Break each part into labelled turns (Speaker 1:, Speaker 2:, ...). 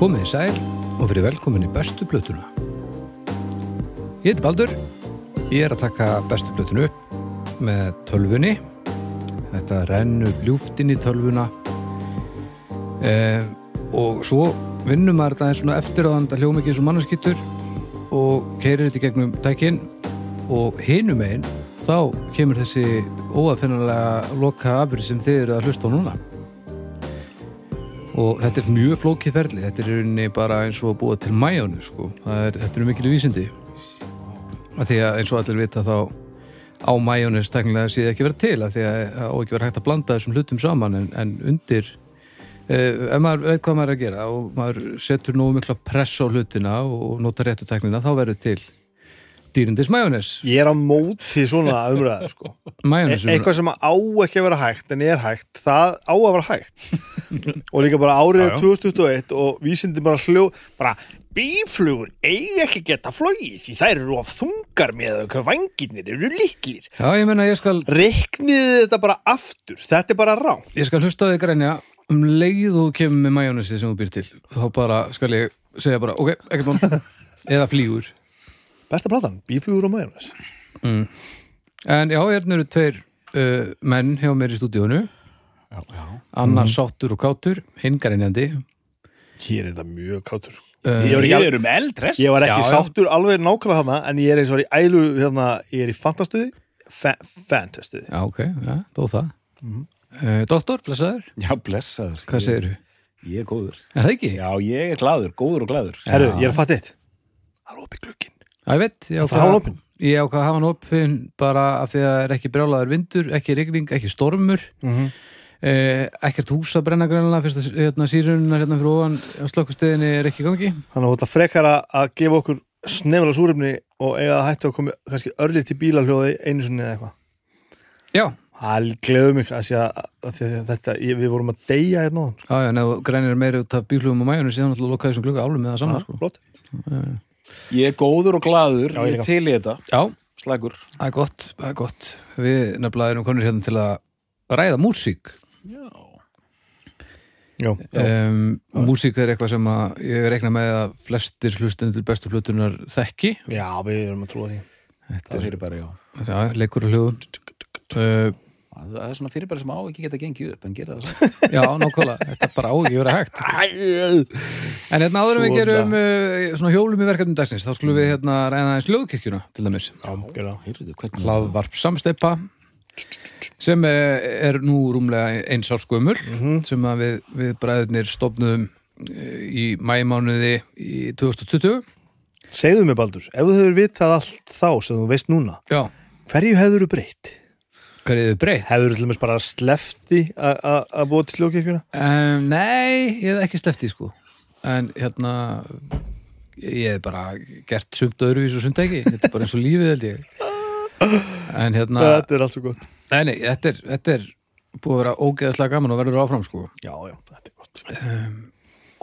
Speaker 1: Komið í sæl og verið velkomin í bestu blötuna. Ég heiti Baldur, ég er að taka bestu blötunu upp með tölvunni. Þetta rennur ljúft inn í tölvuna eh, og svo vinnum maður þetta eins svona eftir á þannig að hljóma ekki eins og mannarskittur og keirir þetta í gegnum tækin og hinum einn þá kemur þessi óafinnalega loka afur sem þið eru að hlusta á núna og þetta er mjög flókið ferli þetta er í rauninni bara eins og að búa til mæjónu sko. Það er, þetta eru mikil vísindi að því að eins og allir vita þá á mæjónis tæknilega sé ekki vera til að því að það á ekki vera hægt að blanda þessum hlutum saman en, en undir eh, ef maður veit hvað maður er að gera og maður setur nógu mikla press á hlutina og notar réttu tæknina þá verður til dýrindis mæjónis
Speaker 2: Ég er á móti svona umræðu sko. E
Speaker 1: mæjónis
Speaker 2: eitthvað sem á ekki að vera hægt en er hægt, það á að vera hægt og líka bara árið
Speaker 1: Já, já.
Speaker 2: 2021 og vísindi bara hljó bara bíflugur eiga ekki að geta flogið því þær eru of þungar með hvað vanginir eru líklir
Speaker 1: já ég menna ég skal
Speaker 2: reikniði þetta bara aftur þetta er bara rá
Speaker 1: Ég skal hlusta á þig grænja um leið og þú kemur með majónesi sem þú býr til þá bara skal ég segja bara ok, ekkert mál, eða flýgur
Speaker 2: besta platan, bíflugur og maðurnes
Speaker 1: en já, hérna eru tveir uh, menn hjá mér í stúdíónu
Speaker 3: Já, já.
Speaker 1: annar
Speaker 2: Mhm.
Speaker 1: sáttur og kátur, hinn grænjandi
Speaker 2: ég er þetta mjög kátur
Speaker 1: Uh,
Speaker 2: ég, var
Speaker 3: Við
Speaker 2: ekki,
Speaker 3: erum eldrest
Speaker 2: ég var
Speaker 1: Já,
Speaker 2: ekki
Speaker 1: já.
Speaker 2: sáttur alveg nákvæmlega hana en ég er eins og í ælu hérna, ég er í fantastuði fa fantastuði
Speaker 1: já, ok, já, þó það uh, Doktor, blessaður,
Speaker 3: Já, blessaður
Speaker 1: hvað
Speaker 3: Ég-
Speaker 1: segirðu?
Speaker 3: Ég er góður
Speaker 1: Er það ekki?
Speaker 3: Já, ég er glaður, góður og glaður
Speaker 2: Herru, ég er að fatta eitt Það er opið glukkin
Speaker 1: Já, ég veit, ég
Speaker 2: Það er
Speaker 1: ákvað
Speaker 2: hálopin
Speaker 1: ég ákvað að hafa hann opinn bara af því að það er ekki brjálaður vindur, ekki rigning, ekki stormur
Speaker 2: Mhm.
Speaker 1: Eh, ekkert hús að brenna grænlega fyrst að hérna, sírunnar hérna fyrir ofan á slökkusteðinni er ekki í gangi
Speaker 2: Þannig að þetta frekar að- að gefa okkur snefala súrefni og eiga að hættu að koma kannski örlið til bílaljóði einu sinni eða eitthvað
Speaker 1: Já,
Speaker 2: Það gleður mig að, sé að, að, því að þetta, ég, við vorum að deyja hérna áðan, sko.
Speaker 1: já, já, en ef þú grænir meira út af bílugum og mæjunum síðan alltaf lokaði þessum glugga álum með það saman sko.
Speaker 2: Flott.
Speaker 3: Ég er góður og glaður,
Speaker 2: Já, ég
Speaker 3: ég
Speaker 2: líka.
Speaker 3: er til í þetta
Speaker 1: Já,
Speaker 3: Slagur
Speaker 1: það er gott, það er gott Við nefnilega erum konur hérna til að ræða músík
Speaker 3: Já,
Speaker 2: Já, já.
Speaker 1: um, og músík er eitthvað sem að ég reikna með að flestir hlustendur bestu hlutunar þekki
Speaker 2: já, við erum að trúa því
Speaker 3: það
Speaker 1: Þetta
Speaker 3: er
Speaker 1: er,
Speaker 3: fyrirbæri, já
Speaker 1: já, leikur og hljóðun uh,
Speaker 3: Það það er svona fyrirbæri sem á ekki geta gengið upp en gera það samt.
Speaker 1: Já, nákvæmlega, þetta er bara á ekki verið hægt En hérna áður en við
Speaker 2: Svona.
Speaker 1: gerum uh, svona hjólum í verkefnum dagsins þá skulum við hérna ræða eins ljóðkirkjuna til dæmis
Speaker 2: Já, gerðu það.
Speaker 3: Heyrðu, hvernig
Speaker 1: hlaðvarp samsteipa sem er, er nú rúmlega eins árs gömul
Speaker 2: Mhm.
Speaker 1: sem að við, við bræðinir stofnum í mæmánuði í 2020
Speaker 2: Segðu mér Baldur, ef þú hefur vitað allt þá sem þú veist núna,
Speaker 1: Já,
Speaker 2: hverju hefur þú breytt?
Speaker 1: hverju þið breytt?
Speaker 2: Hefur þú til dæmis bara slefti að búa til ljókirkuna?
Speaker 1: Um, nei, ég hef ekki sleppt í sko en hérna ég hef bara gert sumt öðruvís og sumt ekki, þetta er bara eins og lífið held ég en hérna
Speaker 2: Þetta er allt svo gott
Speaker 1: nei, nei, þetta er, þetta er búið að vera ógeðaslega gaman og verður áfram sko
Speaker 2: Já, já, þetta er gott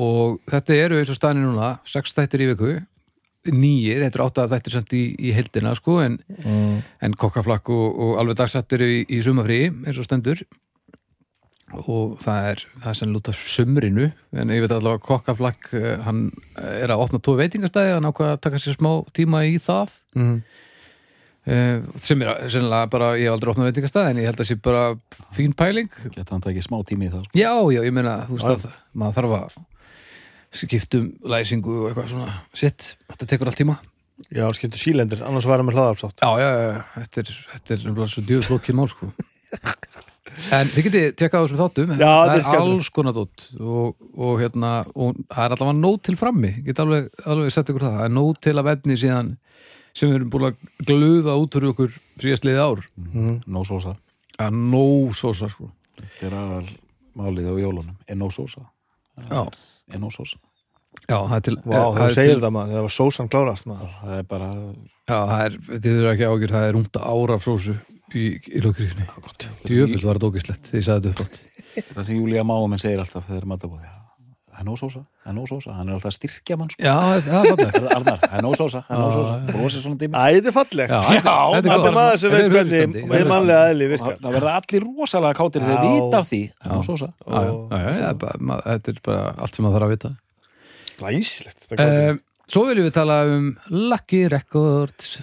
Speaker 1: og þetta eru eins og staðni núna sex þættir í viku nýjir, þetta eru átta þættir samt í, í heldina sko, en, en kokkaflakk og, og alveg dagsættir í, í sumafríi eins og stendur og það er, það er sem lúta sumrinu, en ég veit allavega að kokkaflakk eh, hann er að opna tvo veitingastæði, hann ákvað að taka sér smá tíma í það
Speaker 2: mm.
Speaker 1: eh, sem er sennilega bara, ég hef aldrei opnað veitingastæði en ég held að sé bara fín pæling
Speaker 3: Geta hann takið smá tími í það sko.
Speaker 1: Já, já, ég meina, þú veist
Speaker 2: Já.
Speaker 1: að maður þarf að skiptum læsingu og eitthvað svona sitt, þetta tekur allt tíma
Speaker 2: Já, skemmtu sílendir, annars væri með hlaðarpsátt
Speaker 1: Já, já, já, þetta er, þetta er nefnilega svo djöðu flókið mál, sko En þið getið tekað á þessum þáttum það
Speaker 2: Já, þetta er
Speaker 1: er
Speaker 2: skemmtilegt.
Speaker 1: alls konar dótt og, og hérna, og það er allavega nót til frammi, Ég get alveg, alveg sett ykkur það það er nót til að vefni síðan sem við erum búin að glöða út úr okkur síðast liðið ár,
Speaker 3: No sósa
Speaker 1: að nóg sósa, sko
Speaker 3: Þetta er aðal málið á jólunum En no sósa
Speaker 1: Já,
Speaker 3: En no sósa
Speaker 1: já, það er til Eh,
Speaker 2: Vá,
Speaker 1: það
Speaker 2: þú
Speaker 1: er
Speaker 2: segir
Speaker 1: til-
Speaker 2: það maður, það var sósan klárast maður
Speaker 3: Það er bara
Speaker 1: Já, það er, þið eru ekki ágjur, það er rúmta ára af sósu í, í lókirifni. Djöfull var þetta ógislegt, því ég sagði þetta upp átt.
Speaker 3: það sem Júlía Máumenn segir alltaf þegar maður er matabóði Það er no sósa, það er no sósa Hann er alltaf að styrkja mann sko.
Speaker 1: Já, þetta er fallegt.
Speaker 3: Arnar, það er no sósa, það er no sósa Brosir svona
Speaker 2: Æ,
Speaker 3: dými
Speaker 2: þetta er fallegt
Speaker 1: Já,
Speaker 3: þetta er
Speaker 2: Þetta er maður sem veit hvernig með mannlega aðli
Speaker 3: og það
Speaker 2: virkar
Speaker 3: það verða allir rosalega kátir þegar
Speaker 2: Já.
Speaker 3: þeir vita af því já. Sósa.
Speaker 1: Já, já, já, já, bara- maður- þetta er bara allt sem maður þarf að vita.
Speaker 2: Læsilegt
Speaker 1: uh, Svo viljum við tala um Lucky Records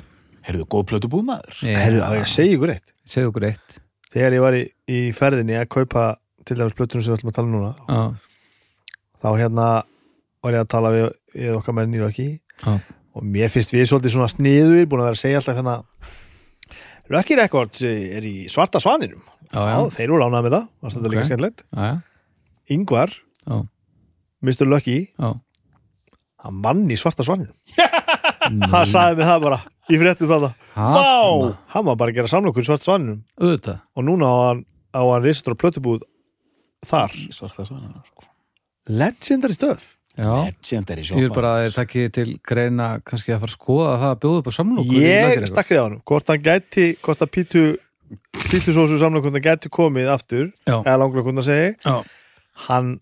Speaker 3: Herðu, góð plötu búið maður
Speaker 2: Herðu, á ég að segja ykkur eitt
Speaker 1: Segðu okkur eitt
Speaker 2: Þegar ég var í, í ferðinni að kaupa til dæmis plötunum sem við ætlum að tala um núna
Speaker 1: Já,
Speaker 2: þá hérna var ég að tala við, við okkar menn í Röki
Speaker 1: já,
Speaker 2: og mér finnst við svolítið svona sniður búin að vera að segja alltaf hérna Röki Records er í svarta svaninum
Speaker 1: já,
Speaker 2: Já,
Speaker 1: já,
Speaker 2: þeir eru lánað með það, það okay. líka
Speaker 1: Ok.
Speaker 2: skemmtilegt
Speaker 1: já, já,
Speaker 2: Ingvar,
Speaker 1: já,
Speaker 2: Mr. Lucky
Speaker 1: já.
Speaker 2: hann vann í svarta svaninum
Speaker 1: Nú,
Speaker 2: hann sagði mig það bara, í fréttum þetta
Speaker 1: þarna,
Speaker 2: hann var bara að gera samlokur í svarta svaninum
Speaker 1: Auðvitað
Speaker 2: og núna á hann, á hann ristur og plötubúð þar
Speaker 3: Svarta svona sko.
Speaker 2: legendary stuff
Speaker 1: Já,
Speaker 3: Legendary
Speaker 1: ég vil
Speaker 3: sjópa
Speaker 1: bara að þeir takki til greina kannski að fara að skoða það að bjóða upp á samlóku
Speaker 2: ég stakkið á hann hvort hann gæti, hvort að pítu pítusósu samlokurna gæti komið aftur
Speaker 1: Já.
Speaker 2: eða langlokurna segi
Speaker 1: Já,
Speaker 2: hann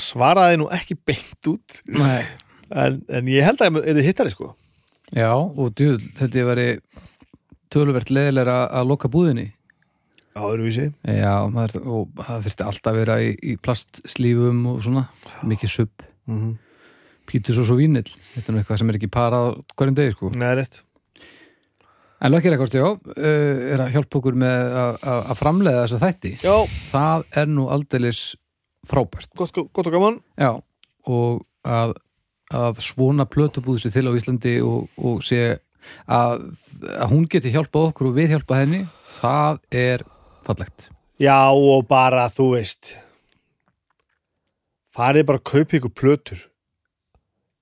Speaker 2: svaraði nú ekki beint út
Speaker 1: nei
Speaker 2: en, en ég held að er þið hittari sko
Speaker 1: Já, og djúl, þetta ég veri töluvert leðilega að loka búðinni
Speaker 2: á öðruvísi
Speaker 1: Já, maður, og það þurfti alltaf að vera í, í plastslífum og svona, mikið sub
Speaker 2: mm -hmm.
Speaker 1: pítus og svo vínill, þetta er nú eitthvað sem er ekki parað á hverjum degi sko.
Speaker 2: Nei, rétt
Speaker 1: En Lucky Records, já, eh, er að hjálpa okkur með að- að að framleiða þessa þætti
Speaker 2: Já,
Speaker 1: Það er nú aldeilis frábært
Speaker 2: gott, gott og gaman
Speaker 1: Já, og að, að svona plötubúð sér til á Íslandi og, og sé að, að hún geti hjálpað okkur og við hjálpað henni, það er fallegt.
Speaker 2: Já, og bara, þú veist farið bara að kaupa ykkur plötur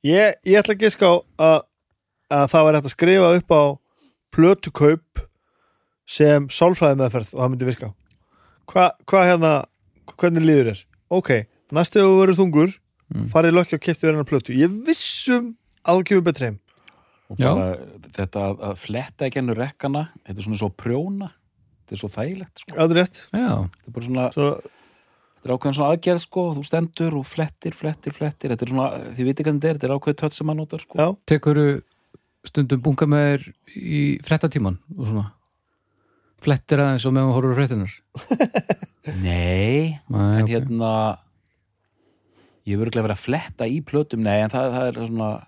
Speaker 2: ég, ég ætla að giska á að, að það var hægt að skrifa upp á plötukaup sem sálfræði meðferð og það myndi virka Hva- hvað hérna, hvernig líður er ok, næstu ef þú verður þungur
Speaker 1: Mm.
Speaker 2: farið lökki og kefti verðina plötu ég vissum að þú kefur betri heim
Speaker 3: og bara þetta að- að fletta ekki hennu rekkana þetta er svona svo prjóna þetta er svo þægilegt sko.
Speaker 2: aður rétt
Speaker 1: Já,
Speaker 3: þetta er bara svona,
Speaker 2: Svo,
Speaker 3: þetta er ákveðin svona aðgerð sko, þú stendur og flettir, flettir, flettir þetta er svona, þið viti hvernig þetta er, þetta er ákveðið tött sem maður notar sko.
Speaker 2: já,
Speaker 1: tekur stundum bunga með þér í frettatíman og svona flettir aðeins og meðan horfur frettinar.
Speaker 3: nei,
Speaker 1: Nei,
Speaker 3: en
Speaker 1: ok.
Speaker 3: hérna ég hef örgulega verið að fletta í plötum nei, en það, það er svona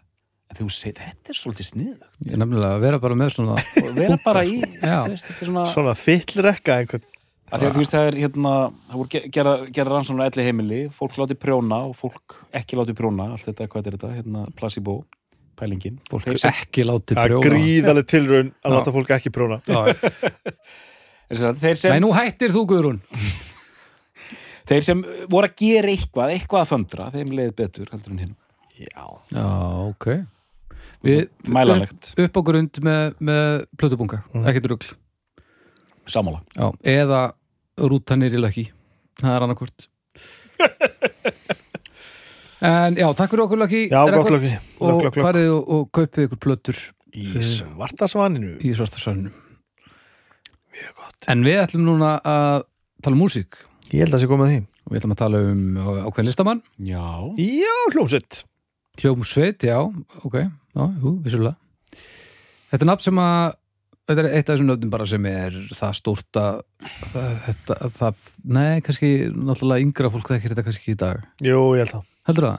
Speaker 3: en þegar þú segir, þetta er svolítið snið
Speaker 1: Ég er nefnilega að vera bara með svona
Speaker 3: og vera bara í,
Speaker 1: sko. Já.
Speaker 3: þú veist, þetta er svona
Speaker 2: svona fyllrekka einhvern
Speaker 3: að því að þú veist, það er hérna það voru ge- gera, gera rannsóknar elli heimili fólk láti prjóna og fólk ekki láti prjóna allt þetta, hvað er þetta, hérna placebo pælingin,
Speaker 1: fólk
Speaker 3: Þeir
Speaker 1: er
Speaker 3: sem-
Speaker 1: ekki látið
Speaker 2: að
Speaker 1: brjóna.
Speaker 2: gríðaleg tilraun að
Speaker 1: Já.
Speaker 2: láta fólk ekki prjóna
Speaker 1: Já,
Speaker 3: Þeir sem- þeir sem
Speaker 1: Nei, nú hættir þú, Guðrún.
Speaker 3: Þeir sem voru að gera eitthvað, eitthvað að föndra, þeim leiði betur heldur en hinn.
Speaker 2: já,
Speaker 1: Já, ok. Við,
Speaker 3: Mælanlegt,
Speaker 1: upp á grund með, með plötubunga,
Speaker 2: Mhm.
Speaker 1: ekkert rugl
Speaker 3: samála.
Speaker 1: Já. eða rútanir í löki það er annarkvort en já, takk fyrir okkur löki
Speaker 2: já gott lökki
Speaker 1: og
Speaker 2: Lökk, lökk, lökk.
Speaker 1: farið og, og kaupið ykkur plötur
Speaker 2: Í svarta svaninu
Speaker 1: í svartasörnum
Speaker 2: Mjög gott
Speaker 1: en við ætlum núna að tala um músík
Speaker 2: Ég held að það sé komið að því
Speaker 1: og við ætlum að tala um uh, ákveðin listamann
Speaker 3: Já,
Speaker 2: Já, hljómsveit
Speaker 1: hljómsveit, um já, ok já, jú, vissulega þetta er nafn sem að þetta er eitt af þessum nöfnum bara sem er það stórt að það, þetta, að það, nei, kannski náttúrulega yngra fólk þekkir þetta kannski í dag
Speaker 2: Jú, ég held það
Speaker 1: heldur það?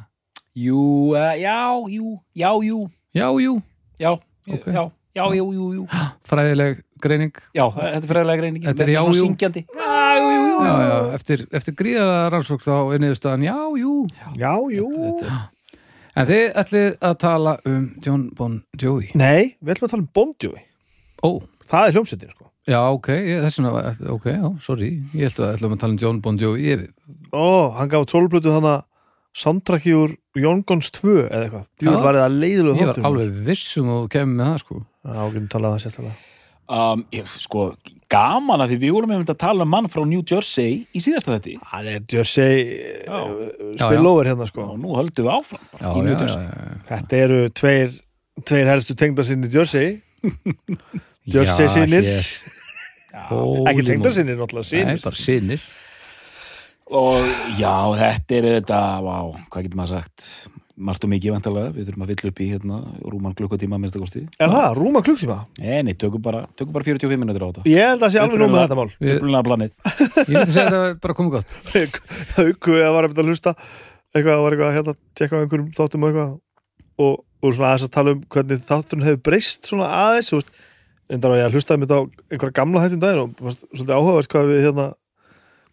Speaker 3: jú, uh, já, jú, já, jú,
Speaker 1: Já, jú,
Speaker 3: já,
Speaker 1: Ok.
Speaker 3: já, já, jú, jú, jú.
Speaker 1: fræðileg greining
Speaker 3: Já, þetta er fræðilega greiningin.
Speaker 1: Þetta er já,
Speaker 3: Svona
Speaker 1: jú.
Speaker 3: syngjandi. Já, jú, jú,
Speaker 1: já,
Speaker 3: jú.
Speaker 1: já, eftir, eftir gríðara rannsók þá er niðurstaðan já, jú
Speaker 2: Já, jú
Speaker 3: Þetta er-
Speaker 1: en þið ætlið að tala um John Bon Jovi
Speaker 2: Nei, við ætlum að tala um Bon Jovi
Speaker 1: ó,
Speaker 2: Það er hljómsveitin, sko
Speaker 1: já, ok, ég- þess vegna var- ok, já, sorry, ég ætlum að, ætlum að tala um John Bon Jovi ég,
Speaker 2: Ó, hann gaf tólplötu þannig að Soundtracki úr Jóngons 2 eða eitthvað Jú,
Speaker 1: Já.
Speaker 2: það var það leiðilegu
Speaker 1: ég var
Speaker 2: þáttur
Speaker 1: alveg vissum og kemur með það sko
Speaker 2: Já, við getum talað um það sérstaklega
Speaker 3: Um, ég, sko, gaman að því við vorum einmitt að tala um mann frá New Jersey í síðasta þetta.
Speaker 2: Það er Jersey
Speaker 3: Já.
Speaker 2: eh,
Speaker 1: Já,
Speaker 2: spill
Speaker 1: já.
Speaker 2: over hérna, sko
Speaker 3: Og nú höldum við áfram bara
Speaker 1: já,
Speaker 3: í
Speaker 1: já,
Speaker 3: New
Speaker 1: já,
Speaker 3: Jersey.
Speaker 1: já.
Speaker 2: Þetta eru tveir, tveir helstu tengdarsinni Jersey Jersey
Speaker 1: Já,
Speaker 2: sinir
Speaker 1: hér.
Speaker 2: Ekki
Speaker 1: Holy moly.
Speaker 2: tengdarsinni, náttúrulega
Speaker 1: Nei,
Speaker 2: sinir
Speaker 1: bara sinir
Speaker 3: Og já, þetta er þetta, vá, hvað getur maður sagt? Margt og mikið vantalega, við þurfum að fylla upp í hérna rúman klukkutíma að minnstakosti.
Speaker 2: Er það, rúma klukktíma?
Speaker 3: Nei, nei, tökum bara, tökum bara 45 minútur á þetta.
Speaker 2: Ég held að það sé alveg nú með
Speaker 3: Upprunalega-
Speaker 2: þetta mál
Speaker 1: Við-
Speaker 3: Upprunalega planið.
Speaker 1: ég myndi segja að þetta bara komið gott
Speaker 2: hauku að var að byrja að hlusta eitthvað, var eitthvað að hérna, tekka á einhverjum þáttum og eitthvað og, og svona aðeins að tala um hvernig þátturinn hefur breyst svona aðeins þú veist, endar á ég að hlusta um þetta á einhverja gamla hættin daginn og varst svolítið áhugavert hvað við hérna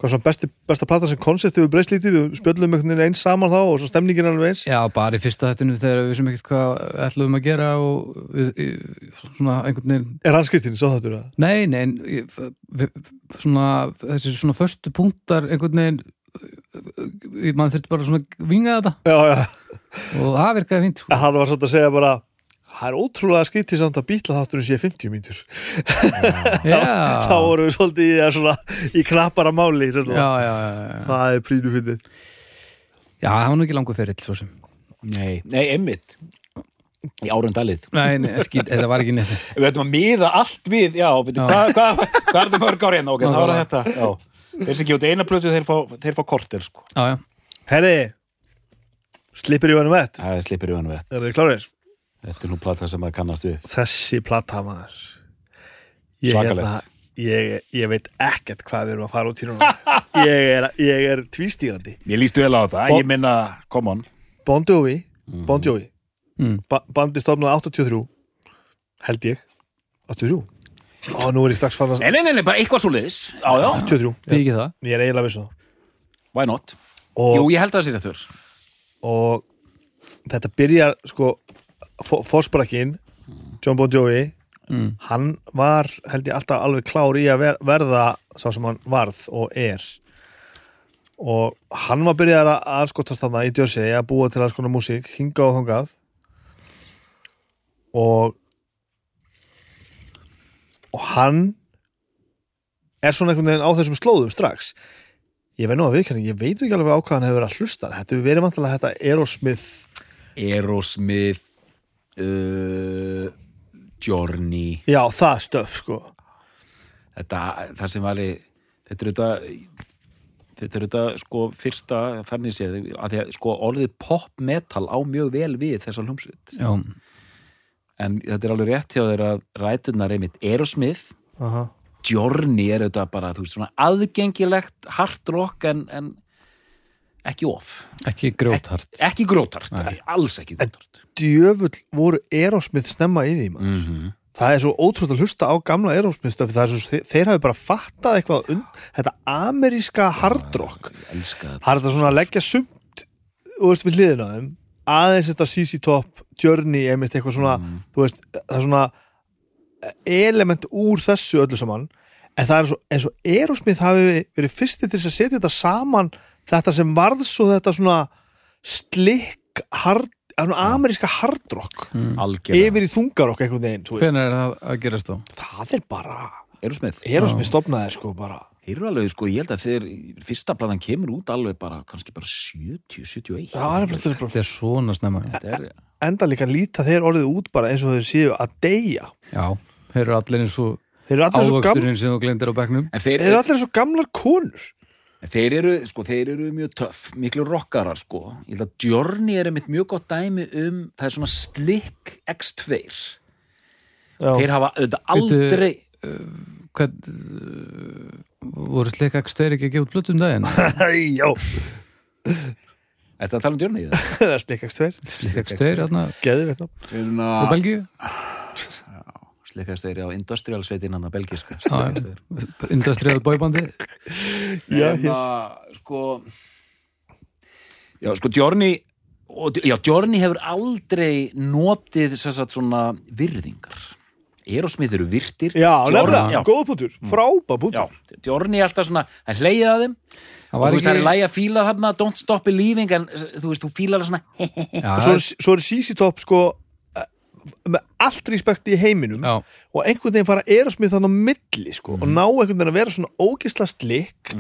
Speaker 2: hvað svona besti, besta plata sem koncept hefur breyst lítið, við spjöllum einhvern veginn eins saman þá og svo stemningin er alveg eins
Speaker 1: Já, bara í fyrsta þættinu þegar við sem ekkert hvað ætluðum að gera og við, í- svona einhvern veginn
Speaker 2: er hann skriftin, svo þáttur það
Speaker 1: Nei, nei, en ég- við- svona, þessi svona förstu punktar einhvern veginn ég- maður þurfti bara svona að vinga þetta
Speaker 2: já, já,
Speaker 1: og það virkaði fínt sko.
Speaker 2: en hann var svolítið að segja bara það er ótrúlega skriftin samt að býtla þátturinn sé 50 mínútur þá
Speaker 1: Já,
Speaker 2: vorum við svolítið í, eða svona, í knappara máli
Speaker 1: já,
Speaker 2: svona.
Speaker 1: já, já, já.
Speaker 2: það er prínu fyndið
Speaker 1: Já, það var nú ekki langur ferill svo sem
Speaker 3: Nei, nei, einmitt Í árundalið
Speaker 1: Nei, nei ekki, þetta var ekki nefn
Speaker 3: Við ætlum að miða allt við, já, beti,
Speaker 1: Já.
Speaker 3: Hvað, hvað, hvað er það mörg ár hérna?
Speaker 1: Já,
Speaker 3: Ok, það var
Speaker 1: já.
Speaker 3: þetta já. Þeir sem gefa út eina plötu, þeir fá, þeir fá kortir sko.
Speaker 1: Já, já,
Speaker 2: Herri, slipper í honum vett
Speaker 3: Það er slipir við hann við
Speaker 2: Er þið klárir?
Speaker 3: Þetta er nú plata sem maður kannast við
Speaker 2: Þessi plata maður Ég, hérna-
Speaker 3: Svakalegt.
Speaker 2: ég, ég veit ekkert hvað við erum að fara út í núna Ég er, ég er tvístígandi
Speaker 3: Ég líst vel á þetta,
Speaker 2: Bo-
Speaker 3: ég minna, come on
Speaker 2: Bon Jovi, bon Jovi
Speaker 1: Mm.
Speaker 2: ba Bandi stofnaði 83 Held ég 83 Ó, nú er ég strax farin
Speaker 3: Nei,
Speaker 2: að
Speaker 3: nei, nei, nei, bara eitthvað svo liðis Já, já,
Speaker 2: 83,
Speaker 1: þið
Speaker 2: já,
Speaker 1: ekki það
Speaker 2: ég er eiginlega vissu það
Speaker 3: why not? Jú,
Speaker 2: og,
Speaker 3: ég held að það sé þetta fyrr
Speaker 2: og þetta byrjar sko Forsbrakkin John Bon Jovi
Speaker 1: mm.
Speaker 2: hann var held ég alltaf alveg klár í að ver verða sá sem hann varð og er og hann var byrjaðar að anskotast þarna í Jersey að búa til alls konar músík, hinga og þangað og og hann er svona einhvern veginn á þessum slóðum strax ég veit nú að viðkjörning, ég veit ekki alveg á hvað hann hefur verið að hlusta þetta hefur verið vantilega þetta Aerosmith
Speaker 3: Aerosmith uh, Journey
Speaker 2: já það stöf sko
Speaker 3: þetta, það sem var í, þetta er þetta þetta er þetta sko fyrsta þannig séð, að því að sko orðið pop metal á mjög vel við þessar hljómsveit
Speaker 1: Já,
Speaker 3: en þetta er alveg rétt hjá þeir að rætunar einmitt Aerosmith,
Speaker 2: Aha.
Speaker 3: Journey er þetta bara, þú veist, svona aðgengilegt hard rock en, en ekki off,
Speaker 1: ekki grjóthart
Speaker 3: ekki grótart
Speaker 1: Nei.
Speaker 3: alls ekki grótart
Speaker 2: djöfull voru Aerosmith snemma í því maður
Speaker 3: mm -hmm.
Speaker 2: það er svo ótrúlega að hlusta á gamla Aerosmith-stöfi, það er svo, þeir, þeir hafi bara fattað eitthvað und, þetta ameríska hardrock,
Speaker 3: ég elska þetta
Speaker 2: það er þetta svona að leggja sumt þú veist, við hliðina á þeim aðeins þetta CC Top, Journey einmitt eitthvað svona,
Speaker 3: Mm.
Speaker 2: þú veist það er svona element úr þessu öllu saman en það er svo, eins og Aerosmith hafi verið fyrsti til þess að setja þetta saman þetta sem varð svo þetta svona slikk hard, svona ameríska hardrock
Speaker 1: mm.
Speaker 3: algjörlega,
Speaker 2: yfir í þungarokk einhvern veginn þú veist.
Speaker 1: Hvenær er það að gerast þá?
Speaker 2: það er bara
Speaker 3: Aerosmith
Speaker 2: Erosmi stopnaði sko bara
Speaker 3: Þeir eru alveg, sko, ég held að þeir fyrsta platan kemur út alveg bara, kannski bara 70, 71.
Speaker 2: það er bara, bara
Speaker 1: Þetta er svona snemma
Speaker 3: Þetta er,
Speaker 2: enda líka líta þeir orðið út bara eins og þeir séu að deyja
Speaker 1: Já, þeir eru allir eins og
Speaker 2: þeir eru allir svo, gam,
Speaker 1: ávöxturinn sem þú glendir á bekknum
Speaker 3: en þeir,
Speaker 2: þeir eru allir svo gamlar konur
Speaker 3: þeir eru, sko, þeir eru mjög töff, miklu rockarar, sko. Ég held að Journey er einmitt mjög gott dæmi um, það er svona slick X2.
Speaker 2: já,
Speaker 3: Þeir hafa auðvitað
Speaker 1: Veitu-
Speaker 3: aldrei,
Speaker 1: Hvað, uh, voru slikka ekki steyri ekki að gefa út blötu um daginn?
Speaker 2: já
Speaker 3: þetta er að tala um Journey það.
Speaker 2: það er slikkast þeir
Speaker 1: Slikka ekki steyri, þarna,
Speaker 2: geði veit
Speaker 3: Hérna,
Speaker 1: frá Belgíu
Speaker 3: slickast þeir á industrial sveitin hann að sko. belgiska.
Speaker 1: Já, já. Industrial boybandi
Speaker 2: já, hérna.
Speaker 3: en
Speaker 2: hér.
Speaker 3: að sko já sko Journey og, já Journey hefur aldrei notið sem sagt svona virðingar Erosmith eru virtir
Speaker 2: já
Speaker 3: Journey,
Speaker 2: nefnilega, góða punktur, frábæ
Speaker 3: já,
Speaker 2: punktur
Speaker 3: já, Journey er alltaf svona það er hlegið að þeim
Speaker 1: Það
Speaker 3: og
Speaker 1: var
Speaker 3: þú veist það er
Speaker 1: ekki
Speaker 3: lægi að fíla þarna don't stop believing en eh, þú veist þú fílar það svona
Speaker 1: Já,
Speaker 2: svo, er- svo er CC Top sko eh, með allt respekt í heiminum
Speaker 1: já,
Speaker 2: og einhvern veginn fara Erosmið þannig á milli sko, og ná einhvern veginn að vera svona ógisla slikk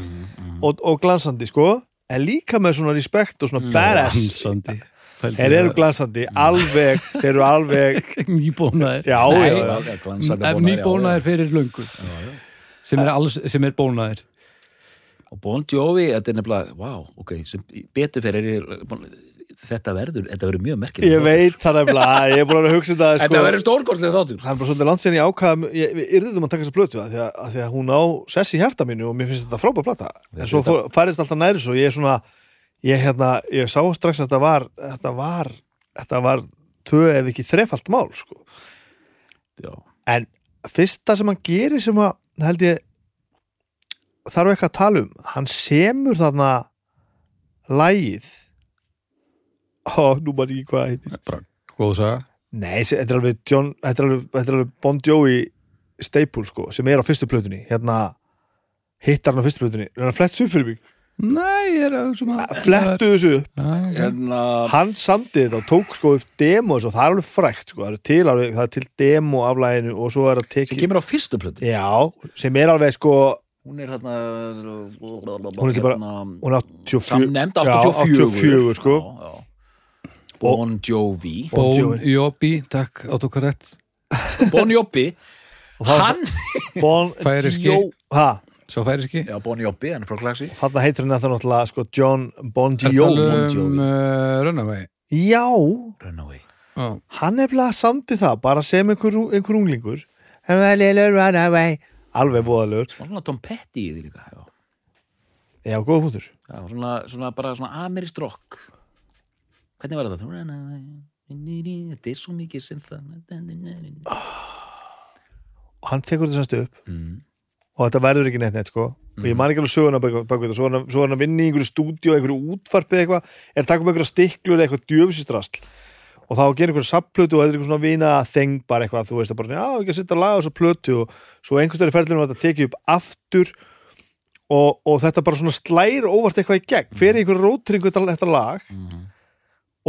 Speaker 2: og, og glansandi sko, en líka með svona respekt og svona badass
Speaker 1: Glansandi
Speaker 2: þeir eru glansandi, alveg þeir eru alveg,
Speaker 1: Nýbónaðir
Speaker 2: já, já, já.
Speaker 3: já, glansandi
Speaker 1: Ef
Speaker 3: bónaðir, já,
Speaker 1: nýbónaðir fyrir löngu sem er, alls, sem er bónaðir
Speaker 3: já. og "Oh, Bon Jovi, þetta er nefnilega wow, ok, sem betur fyrir er, þetta verður, þetta verður mjög merkilega
Speaker 2: ég veit það nefnilega að ég er búin að vera að hugsa þetta sko,
Speaker 3: þetta verður stórkostlega þáttur
Speaker 2: það er bara svolítið langt sér ég ákvaðum ég, við yrðum að taka þess að blötu það því að, að því að hún á sess í hjarta mínu og mér finnst þetta frábæð plata en svo fór, færist alltaf næri svo ég er svona ég, hérna, ég sá strax að þetta var þetta var, þetta var tvö ef ekki þrefalt mál sko.
Speaker 3: já,
Speaker 2: en fyrsta sem hann gerir sem að held ég þarf ekki að tala um hann semur þarna lægið ó, nú maður ekki hvað það heitir
Speaker 1: bara góð saga
Speaker 2: Nei, se- þetta er alveg, John, þetta er alveg, þetta er alveg Bon Jovi staple sko, sem er á fyrstu plötunni hérna, hittar hann á fyrstu plötunni er hann flettu upp fyrir mig,
Speaker 1: Nei, ég er að sem að
Speaker 2: flettu þessu upp.
Speaker 1: Já, já, já.
Speaker 3: en uh, að
Speaker 2: hann samdi þetta og tók sko upp demo þessu og það er alveg frækt sko, það er til, alveg, það er til demo af læginu og svo er að
Speaker 3: sem
Speaker 2: teki
Speaker 3: kemur á fyrstu plötu
Speaker 2: já, sem er alveg sko
Speaker 3: hún er hérna
Speaker 2: Hún er ekki bara- hún er 84
Speaker 3: samnemnd
Speaker 2: Já,
Speaker 3: 84,
Speaker 2: 84, sko.
Speaker 3: já, já. Bon Jovi
Speaker 2: Bon
Speaker 1: Bón
Speaker 2: Jovi.
Speaker 1: Jóbi, takk, autokorrekt
Speaker 3: Bon Jovi
Speaker 2: og það-
Speaker 3: hann
Speaker 2: Bon
Speaker 1: Færiski.
Speaker 2: Jo- Ha,
Speaker 1: Sá færis ekki
Speaker 3: já, Bon Jovi, hann er frá Klaxi
Speaker 2: þarna heitir hann það náttúrulega sko John Bon
Speaker 1: Er
Speaker 2: Jovi
Speaker 1: talað
Speaker 3: Jovi.
Speaker 1: um uh, Runaway
Speaker 2: já,
Speaker 3: Runaway
Speaker 1: Já,
Speaker 2: hann er bara samdi það bara sem einhver, einhver unglingur And a little runaway. alveg voðalegur
Speaker 3: Var svona Tom Petty í því líka já.
Speaker 2: Já, góða hútur.
Speaker 3: Já, svona, svona bara svona amirist rock hvernig var þetta? Runaway. þetta er svo mikið sem það
Speaker 2: Og hann tekur þetta semst upp
Speaker 3: mm.
Speaker 2: og þetta verður ekki neitt neitt, sko. Og ég man ekki alveg söguna bak bak við þetta. Svo er hann að- Svo er hann að vinna í einhverju stúdíu, einhverju útvarpi eða eitthvað, er að taka um einhverja stiklur eða eitthvað djöfisistrasl. Og þá gerir einhverju sapplötu og þetta er einhver svona vina þeng bara eitthvað, þú veist, það bara, já, ekki að setja að laga þessa plötu og svo einhverstæri ferðlinu var þetta tekið upp aftur og, og þetta bara svona slæri óvart eitthvað í gegn, fer í einhverju rótringu þetta, þetta lag
Speaker 3: Mm.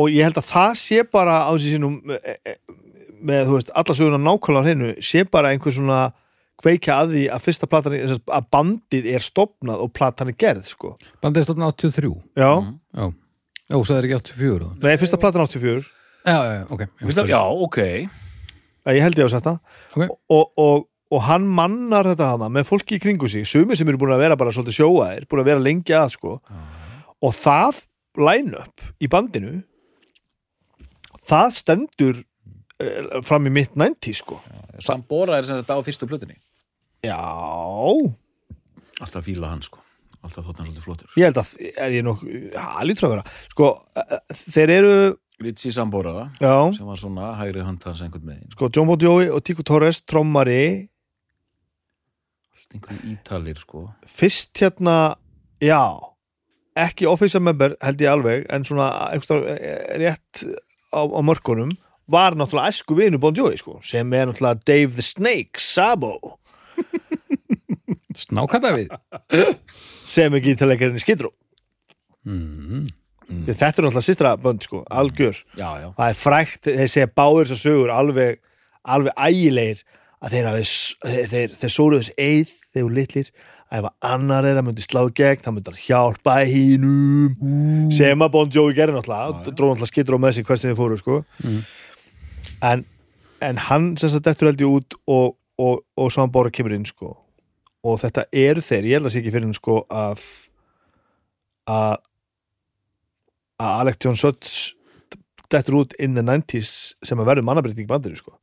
Speaker 2: og ég held að það sé bara á þessi sínum e, e, með, þú veist, alla söguna nákvæmlega á hreinu, sé bara einhver svona kveikja að því að fyrsta platan er- sem sagt, að bandið er stopnað og platan er gerð, sko.
Speaker 1: bandið er stofn 83
Speaker 2: Já,
Speaker 3: Mhm.
Speaker 1: Já, já, það er ekki 84 þá.
Speaker 2: nei, fyrsta platan er 84
Speaker 1: Já, já, já, ok
Speaker 3: Ég finnst það- já, ok
Speaker 2: að ég held ég á þetta
Speaker 1: Ok.
Speaker 2: og, og, og hann mannar þetta hana með fólki í kringu sig, sumir sem eru búin að vera bara svolítið sjóaðir, búin að vera lengi að sko og það line-up í bandinu það stendur eh, fram í mitt 90 sko
Speaker 3: Sambora er sem sagt á fyrstu plötunni
Speaker 2: Já,
Speaker 3: Alltaf fíla hann sko Alltaf þótt hann svolítið flottur
Speaker 2: ég held að er ég nokk, já, lítur að vera sko, eh, eh, þeir eru
Speaker 3: Ritsi Sambora
Speaker 2: já,
Speaker 3: sem var svona hægri hönd hans einhvern megin
Speaker 2: sko, John Bon Jovi og Tico Torres trommari,
Speaker 3: Allt einhvern ítalir sko
Speaker 2: fyrst hérna já, ekki official member held ég alveg, en svona einhverstað rétt á, á mörkunum var náttúrulega æsku vinu Bon Jovi sko, sem er náttúrulega Dave the Snake Sabo,
Speaker 1: Snákata við
Speaker 2: sem er gítaleikarinn í Skidrú
Speaker 1: mm.
Speaker 2: Því þetta er náttúrulega sýstra bönd sko, algjör
Speaker 3: Já, já,
Speaker 2: það er frækt, þeir segja báður þessar sögur alveg, alveg ægilegir að þeir, hafi, s- þeir, þeir, þeir sóru þess eið þeir voru litlir að ef annar þeirra myndi slá í gegn þá myndi hann hjálpa hínum sem að Bon Jovi gerir náttúrulega
Speaker 3: Já, Mhm. já.
Speaker 2: og dróð náttúrulega skittur á með sig hversu þeir fóru sko. en, en hann sem sagt dettur held ég út og, og, og svo hann bara kemur inn sko. og þetta eru þeir, ég held að sé ekki fyrir hann sko að að að Alec John Suts dettur út in the 90s sem að verður mannabreiting í bandinu sko.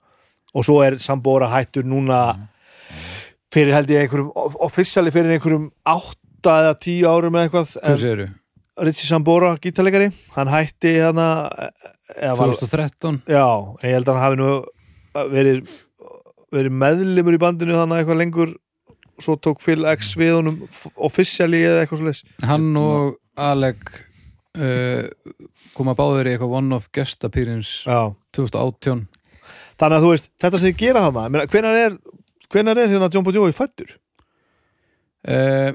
Speaker 2: og svo er Sambora hættur núna fyrir held ég einhverjum of- officially fyrir einhverjum átta eða tíu árum eða eitthvað
Speaker 1: Hvað
Speaker 2: en
Speaker 1: segirðu?
Speaker 2: Ritchie Sambora, gítalegari hann hætti hana eða var,
Speaker 1: 2013
Speaker 2: já, en ég held að hann hafi nú e, verið verið meðlimur í bandinu þannig eitthvað lengur svo tók Phil X við honum f- officially eða eitthvað svo leis
Speaker 1: Hann og Alec uh, koma báður í eitthvað one-off guest appearance
Speaker 2: já
Speaker 1: 2018
Speaker 2: Þannig að þú veist, þetta sem þið gera hana meina, hvenær er, hvenær er hérna John Bon Jovi fættur?
Speaker 1: uh,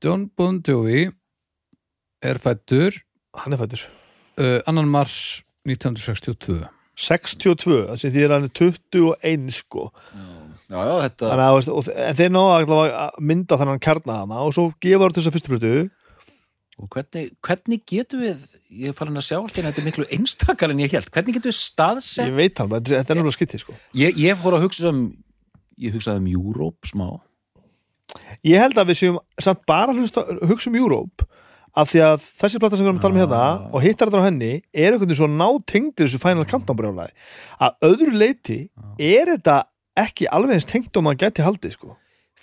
Speaker 1: John Bon Jovi er fættur
Speaker 2: Hann er fættur
Speaker 1: uh, 2. mars 1962
Speaker 2: 62, það sem því er hann er 21 sko
Speaker 3: já, já þetta
Speaker 2: Þannig að, þú veist, og, þe- en þeir náða allavega að mynda þannig kjarna hana og svo gefa þú þessa fyrstu plötu
Speaker 3: Og hvernig, hvernig getum við Ég er farin að sjá allt hérna, þetta er miklu einstakar en ég held Hvernig getum við staðsett
Speaker 2: ég veit hann, þetta þetta er náttúrulega skytti sko
Speaker 3: Ég, ég fór að hugsa um Ég hugsaði um Europe smá
Speaker 2: ég held að við séum samt bara að hlusta, hugsa um Europe af því að þessi plata sem við erum að tala um hérna
Speaker 3: Ah.
Speaker 2: og hittar þetta á henni er einhvern veginn svo nátengdir þessu Final Countdown brjólaði að öðru leiti er þetta ekki alveg eins tengt og maður gæti haldið sko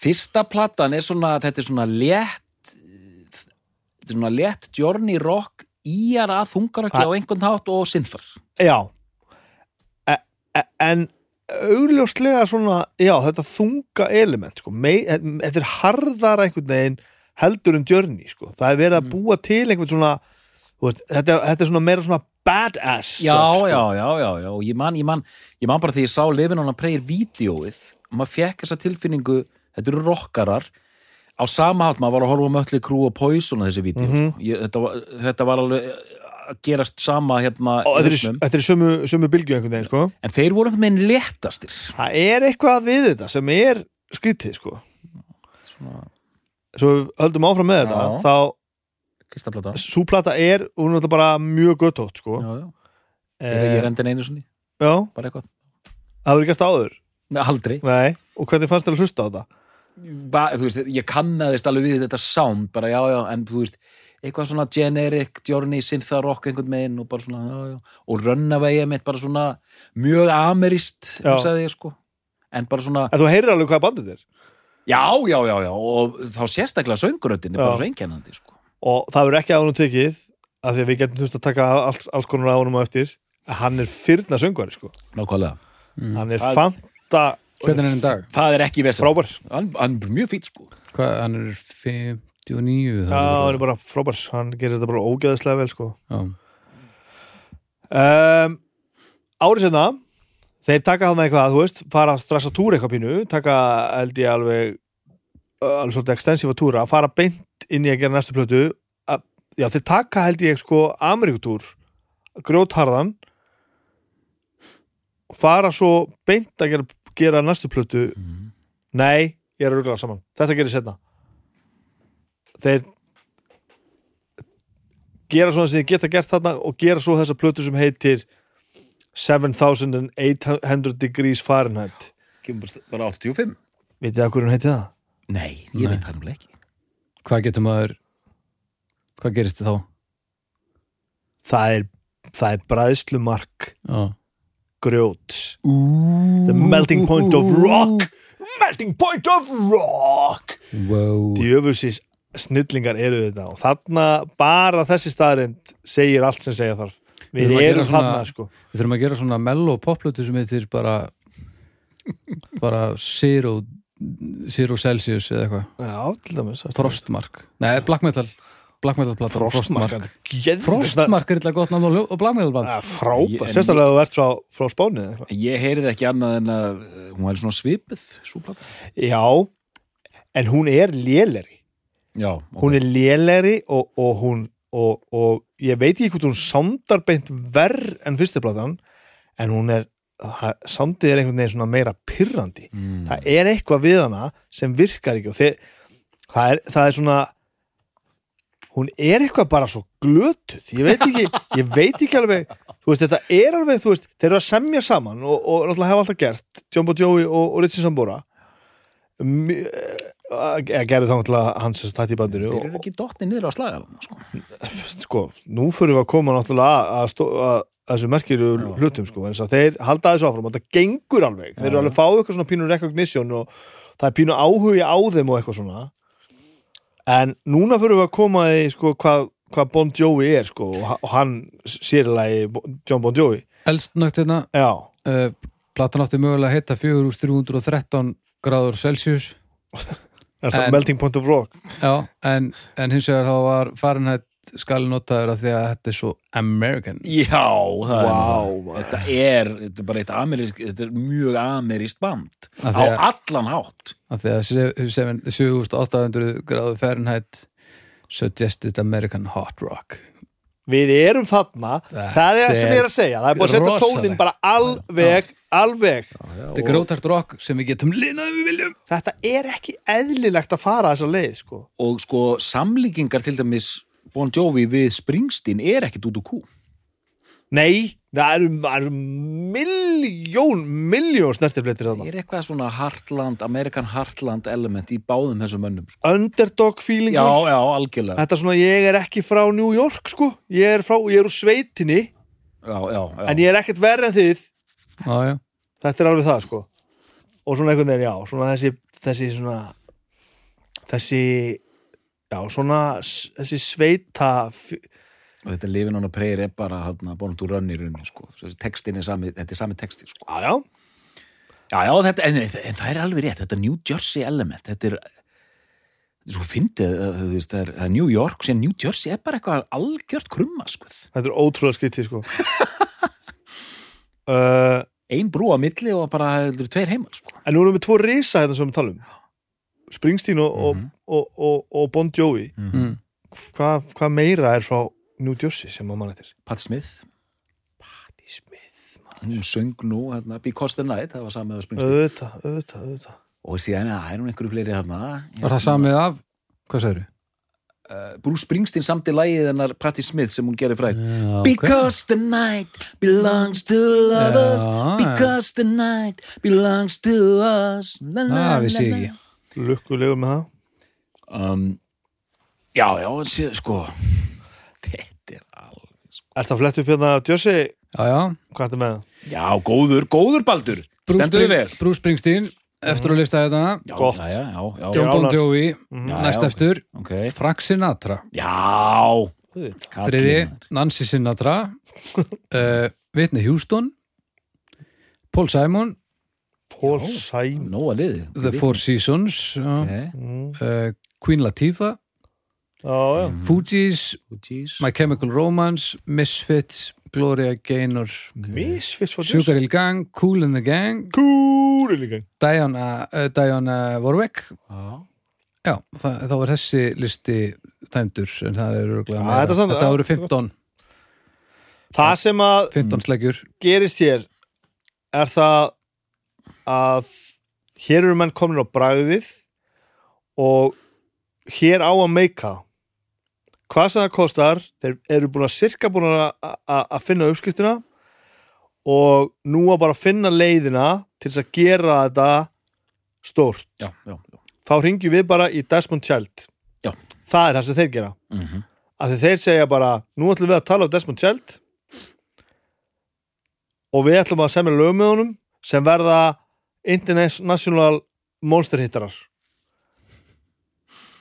Speaker 3: Fyrsta platan er svona, þetta er svona létt Þetta er svona létt Journey Rock Íjar að þungarökli
Speaker 2: Ah.
Speaker 3: á einhvern hátt og synþar
Speaker 2: Já, E- en augljóslega svona, já, þetta þunga element, sko, mei, þetta er harðara einhvern veginn heldur en djörni, sko, það er
Speaker 3: Mm.
Speaker 2: verið að búa til einhvern svona, þú veist, þetta, þetta er svona meira svona badass
Speaker 3: já,
Speaker 2: stuff, sko.
Speaker 3: já, já, já, já, og ég man, ég man ég man bara því ég sá lifin hann að preyir vídjóið og maður fekk þessa tilfinningu þetta eru rokkarar á sama hátt maður var að horfa á möllu krú og poison á þessi vídjó, mm
Speaker 2: Mhm.
Speaker 3: ég, þetta, var- þetta var alveg að gerast sama hérna
Speaker 2: og
Speaker 3: í
Speaker 2: þetta er,
Speaker 3: hausnum.
Speaker 2: í- þetta er í sömu, sömu bylgju einhvern veginn, sko
Speaker 3: en þeir voru einhvern veginn léttastir
Speaker 2: það er eitthvað við þetta sem er skrítið, sko
Speaker 3: svona,
Speaker 2: svo við höldum áfram með þetta,
Speaker 3: Já.
Speaker 2: þá
Speaker 3: fyrsta plata já,
Speaker 2: súplata er, hún er náttúrulega bara mjög göttótt, sko
Speaker 3: já, ég
Speaker 2: Eh,
Speaker 3: er endin einu sinni,
Speaker 2: já,
Speaker 3: bara eitthvað
Speaker 2: það hefur gæst áður
Speaker 3: Nei, aldrei,
Speaker 2: Nei, og hvernig fannst þér að hlusta á þetta?
Speaker 3: ba, þú veist, ég kannaðist alveg við þetta sound, bara já, já, en þú veist eitthvað svona generic, Journey, Syntha Rock einhvern megin og bara svona já, já, og Runaway mitt bara svona mjög amerist,
Speaker 2: Já.
Speaker 3: hugsaði ég sko en bara svona,
Speaker 2: En þú heyrir alveg hvað bandið er
Speaker 3: já, já, já, já og þá sérstaklega sönguröndin er
Speaker 2: Já.
Speaker 3: bara svo einkennandi sko.
Speaker 2: og það verður ekki að honum tekið af því að við getum þurft að taka alls, alls konar að honum á eftir að hann er fyrna söngvari sko.
Speaker 3: nákvæmlega,
Speaker 2: hann er
Speaker 3: Það-
Speaker 2: fanta
Speaker 1: Mm. Hvernig er hann í dag?
Speaker 3: það er ekki vesel
Speaker 2: frábær já,
Speaker 3: hann, hann er mjög fýtt sko
Speaker 1: Hvað, hann er 59 það
Speaker 2: hann
Speaker 1: er
Speaker 2: er bara frábær, hann gerir þetta bara ógeðislega vel sko.
Speaker 1: Já.
Speaker 2: um, árið senna þeir taka þarna eitthvað, þú veist fara að stressa túr eitthvað pínu taka held ég alveg alveg svolítið extensífa túra, fara beint inn í að gera næstu plötu að, já, þeir taka held ég sko Ameríkutúr grjótharðan fara svo beint að gera, gera næstu plötu
Speaker 3: Mhm.
Speaker 2: nei, ég er rugglað saman þetta gerir setna þeir gera svona sem þið geta gert þarna og gera svo þessa plötu sem heitir 7800 degrees Fahrenheit
Speaker 3: kemur bara- bara 85
Speaker 2: vitið það hverju hún heitir það?
Speaker 3: nei, ég
Speaker 1: Nei.
Speaker 3: veit það nefnilega ekki
Speaker 1: Hvað getur maður Hvað gerist þið þá?
Speaker 2: það er, það er bræðslumark
Speaker 1: Já.
Speaker 2: grjóts
Speaker 3: Ooh.
Speaker 2: the melting point of rock melting point of rock
Speaker 1: Wow.
Speaker 2: djöfusis snillingar eru þetta og þarna bara þessi staðrind segir allt sem segja þarf
Speaker 1: Við
Speaker 2: við
Speaker 1: erum að gera
Speaker 2: erum
Speaker 1: svona-
Speaker 2: þarna sko
Speaker 1: Við þurfum að gera svona mello poplötu sem heitir bara bara zero zero Celsius eða eitthvað
Speaker 2: já, til dæmis
Speaker 1: Frostmark Nei, Black Metal Black Metal plata
Speaker 2: frostmark Ah. frostmark
Speaker 1: Frostmark er eitthvað gott náttúrulega og Black Metal band
Speaker 3: Ég-
Speaker 2: frábær,
Speaker 3: en-
Speaker 2: sérstaklega að þú ert frá, frá spánið eitthvað.
Speaker 3: Ég heyrið ekki annað en að uh, hún var svona svipuð svo plata.
Speaker 2: já, en hún er léleri
Speaker 3: Já, ok.
Speaker 2: hún er léleri og, og hún og, og ég veit ekki hvort hún sándar beint verð en fyrstu platan en hún er, ha- sándið er einhvern veginn svona meira pirrandi
Speaker 3: mm.
Speaker 2: það er eitthvað við hana sem virkar ekki og þeir, það, er, það er svona hún er eitthvað bara svo glötuð ég veit ekki, ég veit ekki alveg þú veist, þetta er alveg, þú veist, þeir eru að semja saman og, og náttúrulega hafa alltaf gert Jumbo Joey og, og Richie Sambora eh, að gera þá náttúrulega hans sem stætt í bandinu
Speaker 3: Þeir
Speaker 2: og,
Speaker 3: eru ekki dottni niður á slagalann sko.
Speaker 2: sko, nú fyrir við að koma náttúrulega að, að, stó- að, að þessu merkiru
Speaker 3: Já.
Speaker 2: hlutum sko, en þeir halda þessu áfram og það gengur alveg, þeir eru
Speaker 3: Já.
Speaker 2: alveg að fá eitthvað svona pínu recognition og það er pínu áhugi á þeim og eitthvað svona en núna fyrir við að koma í sko hvað hva Bon Jovi er sko og, ha- og hann sérlega John Bon Jovi
Speaker 1: Elstnögt hérna
Speaker 2: já,
Speaker 1: uh, Platan átti mögulega að heita 4313 gráður Celsius
Speaker 2: er það
Speaker 1: En-
Speaker 2: melting point of rock
Speaker 1: Já, en, en hins vegar þá var Fahrenheit skali notaður af því að þetta er svo American
Speaker 3: Já, það er
Speaker 2: Vá,
Speaker 3: nú það.
Speaker 2: maður.
Speaker 3: Þetta er, þetta er bara eitt amerísk Þetta er mjög amerískt band
Speaker 1: Af
Speaker 3: Á
Speaker 1: því að-
Speaker 3: allan hátt
Speaker 1: af því að se- seven- 7800 gráður Fahrenheit suggested American hot rock
Speaker 2: við erum þarna,
Speaker 1: Þetta
Speaker 2: það er sem ég
Speaker 1: er-
Speaker 2: er að segja það er búin að setja
Speaker 1: rosalegt.
Speaker 2: tónin bara alveg alveg,
Speaker 1: Þetta er grótart rock sem við getum linað ef við viljum
Speaker 2: þetta er ekki eðlilegt að fara þessa leið sko
Speaker 3: Og sko, samlíkingar til dæmis Bon Jovi við Springsteen er ekkit út úr kú
Speaker 2: Nei, það eru, það eru miljón, miljón snertifletir
Speaker 3: Það
Speaker 2: þarna.
Speaker 3: er eitthvað svona Heartland, Amerikan Heartland element í báðum þessum mönnum sko.
Speaker 2: Underdog
Speaker 3: Já,
Speaker 2: feelingur.
Speaker 3: já, algjörlega
Speaker 2: Þetta er svona, ég er ekki frá New York, sko. Ég er frá, ég er úr sveitinni,
Speaker 3: Já, já, já
Speaker 2: en ég er ekkert verð en þið.
Speaker 1: Já, já,
Speaker 2: Þetta er alveg það, sko. Og svona einhvern veginn, já, svona þessi, þessi svona, þessi, já, svona, s- þessi sveita, f-
Speaker 3: og þetta lifin on a prayer er bara hérna, born to run í rauninni sko. Svo þessi textin er sami, þetta er sami texti sko.
Speaker 2: já, já,
Speaker 3: já, já, þetta, en, en það er alveg rétt þetta New Jersey element þetta er, þetta er svo fyndið að, þú veist, það er, það er New York sem New Jersey er bara eitthvað algjört krumma sko.
Speaker 2: þetta er ótrúlega skytti sko uh,
Speaker 3: ein brú á milli og bara þetta eru tveir heimar sko.
Speaker 2: En nú erum við tvo risa þetta sem við tala um Springsteen og,
Speaker 3: Mhm.
Speaker 2: og, og, og, og Bon Jovi
Speaker 3: mm.
Speaker 1: Mm.
Speaker 2: Hva, Hvað meira er frá New Jersey sem maður mann eftir?
Speaker 3: Pat Smith
Speaker 2: Patti Smith
Speaker 3: hún söng nú hérna, Because the Night, það var samið á Springsteen
Speaker 2: Öðvita, öðvita, öðvita
Speaker 3: og síðan ja, er hún einhverju fleiri þarna
Speaker 1: Var það samið af, hvað sagður þau?
Speaker 3: uh, Bruce Springsteen samt í lagið hennar Patti Smith sem hún gerir fræk Because the night belongs to lovers
Speaker 1: Já,
Speaker 3: Because the night belongs to us Na, na,
Speaker 1: Það
Speaker 3: na,
Speaker 1: Ah, vissi ég
Speaker 3: na.
Speaker 1: ekki.
Speaker 2: Lukkulegur með það
Speaker 3: um, Já, já, sé, sko Þetta er alveg
Speaker 2: Er það flett upp hérna af Jersey?
Speaker 1: Já, já.
Speaker 2: Hvað er þetta með það?
Speaker 3: Já, góður, góður Baldur
Speaker 1: Bruce
Speaker 3: Stendur
Speaker 1: Spring-
Speaker 3: við vel
Speaker 1: Bruce Springsteen, eftir að lista þetta.
Speaker 3: Já,
Speaker 2: Gott.
Speaker 3: já, já, já, já, Mhm.
Speaker 1: John Bon Jovi,
Speaker 3: já,
Speaker 1: næst
Speaker 3: já,
Speaker 1: eftir.
Speaker 3: ok.
Speaker 1: Frank Sinatra.
Speaker 3: Já
Speaker 2: Auðvitað.
Speaker 3: kallinn
Speaker 1: Þriði,
Speaker 3: maður.
Speaker 1: Nancy Sinatra. Uh, Whitney Houston. Paul Simon,
Speaker 2: Paul
Speaker 3: Já.
Speaker 2: Simon
Speaker 3: Nóa liði
Speaker 1: The Four Seasons. Uh,
Speaker 3: okay.
Speaker 2: mm.
Speaker 1: uh, Queen Latifah.
Speaker 2: Já, já
Speaker 1: Fugees,
Speaker 3: Jeez.
Speaker 1: My Chemical Romance, Misfits, Gloria Gaynor,
Speaker 2: Misfits frá
Speaker 1: Sugar
Speaker 2: Jersey
Speaker 1: Hill Gang, Cool in the Gang,
Speaker 2: Kúri líka
Speaker 1: Diana, uh, Diana Warwick.
Speaker 3: Já.
Speaker 1: Já, það, þá er þessi listi tæmdur, en það eru örugglega
Speaker 2: Já,
Speaker 1: meira.
Speaker 2: þetta er samt-
Speaker 1: þetta eru 15,
Speaker 2: Það sem að
Speaker 1: 15 sleggjur.
Speaker 2: gerist hér er það að hér eru menn komin á bragðið og hér á að meika hvað sem það kostar þeir eru búin að sirka búin að, að að finna uppskriftina og nú að bara finna leiðina til þess að gera þetta stórt
Speaker 3: já, já, já.
Speaker 2: þá ringjum við bara í Desmond Child
Speaker 3: Já.
Speaker 2: það er það sem þeir gera
Speaker 3: Mm -hmm.
Speaker 2: af því þeir segja bara nú ætlum við að tala um Desmond Child og við ætlum að semja lög með honum sem verða international monster hittarar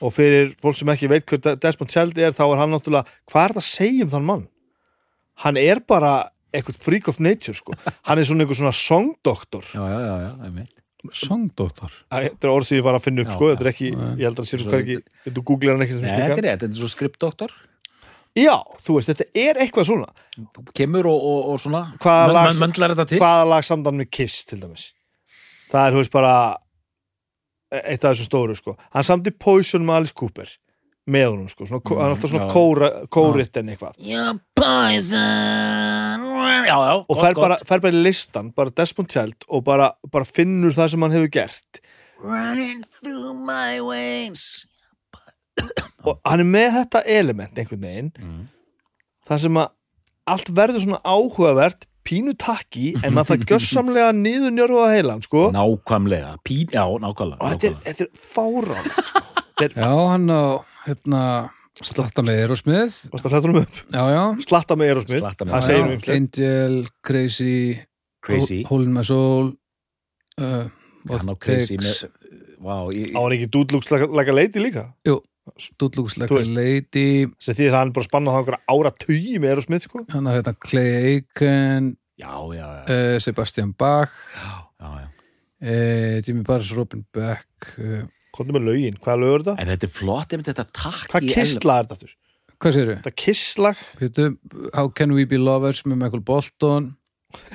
Speaker 2: og fyrir fólk sem ekki veit hver De- Desmond Child er þá er hann náttúrulega hvað er það að segja um þann mann hann er bara eitthvað freak of nature sko. hann er svona einhver svona songdoktor
Speaker 3: já, já, já, já, einmitt
Speaker 1: Songdóttar.
Speaker 2: þetta er orð sem ég var að finna upp
Speaker 3: Já,
Speaker 2: sko.
Speaker 3: já.
Speaker 2: þetta er ekki,
Speaker 1: Nei.
Speaker 2: ég held að sér
Speaker 3: Svo-
Speaker 2: hvað ekki þetta googlar hann ekki sem
Speaker 3: Nei,
Speaker 2: slika
Speaker 3: þetta er rétt, þetta er svo skriptdoktor
Speaker 2: já, þú veist, þetta er eitthvað svona
Speaker 3: Þú kemur og, og, og svona
Speaker 2: Hvaða
Speaker 3: mön-
Speaker 2: lag-
Speaker 3: mön- möndlar þetta til
Speaker 2: hvaða lag samdann með Kiss til dæmis það er, þú veist, bara eitt af þessum stóru, sko hann samdi Poison með Alice Cooper með honum, sko, svona, mm, hann er alltaf
Speaker 3: já.
Speaker 2: svona kóra, kórit en eitthvað
Speaker 3: You're poison Já, já,
Speaker 2: og fer bara, fer bara í listan, bara Desmond Child og bara, bara finnur það sem hann hefur gert
Speaker 3: Running through my veins
Speaker 2: og hann er með þetta element einhvern veginn,
Speaker 3: mm.
Speaker 2: þar sem að allt verður svona áhugavert pínu takki, en maður það gjössamlega niður njörfaða heilan, sko
Speaker 3: Nákvæmlega, Pín, já, nákvæmlega,
Speaker 2: og þetta er,
Speaker 3: nákvæmlega.
Speaker 2: þetta er fárán sko.
Speaker 1: Já, hann á, hérna, slatta með Erosmith.
Speaker 2: Varstu að hlæta honum upp?
Speaker 1: Já, já.
Speaker 2: slatta með Erosmith,
Speaker 3: Slatta með
Speaker 2: það
Speaker 1: Já,
Speaker 2: segir
Speaker 1: já.
Speaker 2: mjög ymslegt.
Speaker 1: Angel, Crazy,
Speaker 3: Crazy
Speaker 1: Hol- Hole in my soul, uh, What
Speaker 3: Hann á
Speaker 1: Takes,
Speaker 3: crazy með Vá, ég,
Speaker 2: á hann ekki dúdlúks laga leiti líka
Speaker 1: Dúdlúks
Speaker 2: Þú
Speaker 1: Like a
Speaker 2: veist.
Speaker 1: Lady,
Speaker 2: sem því að hann er bara spannað á einhverja ára tugi með Erosmith sko
Speaker 1: hann á hérna Clay Aiken,
Speaker 3: já, já, já,
Speaker 1: uh, Sebastian Bach,
Speaker 3: já, já
Speaker 1: uh, Jimmy Barnes, Robin Beck, uh,
Speaker 2: komdu með laugin, hvaða lögur þetta?
Speaker 3: En þetta er flott, einmitt þetta takk
Speaker 2: hvað
Speaker 3: í elm-
Speaker 2: kistla er þetta? aftur?
Speaker 1: hvað séru?
Speaker 2: þetta kistlag,
Speaker 1: Hétu, How Can We Be Lovers með Michael Bolton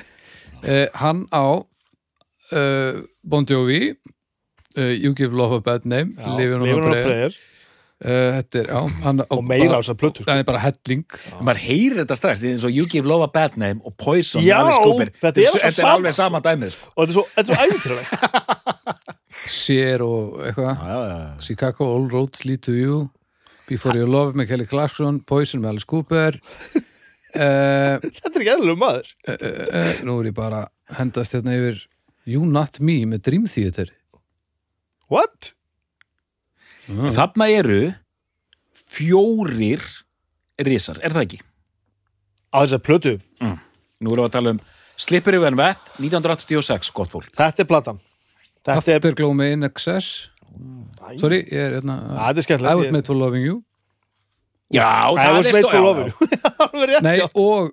Speaker 1: uh, hann á uh, Bon Jovi uh, You Give Love a Bad Name Living on a
Speaker 2: lifunum og
Speaker 1: Prayer
Speaker 2: preðir
Speaker 1: uh, þetta er, já, hann,
Speaker 2: og meira á þessar plötu sko.
Speaker 1: það er bara helling
Speaker 3: maður heyrir þetta strax, þetta er eins og You Give Love a Bad Name og Poison
Speaker 2: Já,
Speaker 3: með Alice Cooper.
Speaker 2: þetta er alltaf
Speaker 3: þetta er
Speaker 2: sama,
Speaker 3: alveg sama dæmið sko.
Speaker 2: og þetta er svo, þetta er svo æfintýralegt
Speaker 1: Sér og eitthvað
Speaker 3: já, já, já.
Speaker 1: Chicago All Roads Lead to You Before Your Love með Kelly Clarkson Poison með Alice Cooper uh,
Speaker 2: þetta er ekki eðlum maður
Speaker 1: uh, uh, nú er ég bara að hendast hérna yfir You Not Me með Dream Theater
Speaker 2: what?
Speaker 1: mm.
Speaker 3: Þarna eru fjórir risar, er það ekki?
Speaker 2: á þessar plötu,
Speaker 3: Nú erum við að tala um Slipper Even Wet 1986, gott fólk
Speaker 2: þetta er platan þetta er,
Speaker 1: Afterglow með In Excess
Speaker 2: Æ,
Speaker 1: Sorry, ég er
Speaker 2: Æ,
Speaker 1: hérna
Speaker 2: þetta er
Speaker 1: I was
Speaker 2: skemmtilegt
Speaker 1: made for loving you
Speaker 3: Já,
Speaker 2: I
Speaker 3: það
Speaker 2: was
Speaker 3: er
Speaker 2: made
Speaker 3: stó-
Speaker 2: for
Speaker 3: já,
Speaker 2: loving you. Alveg rétt,
Speaker 1: Nei,
Speaker 2: já.
Speaker 1: og,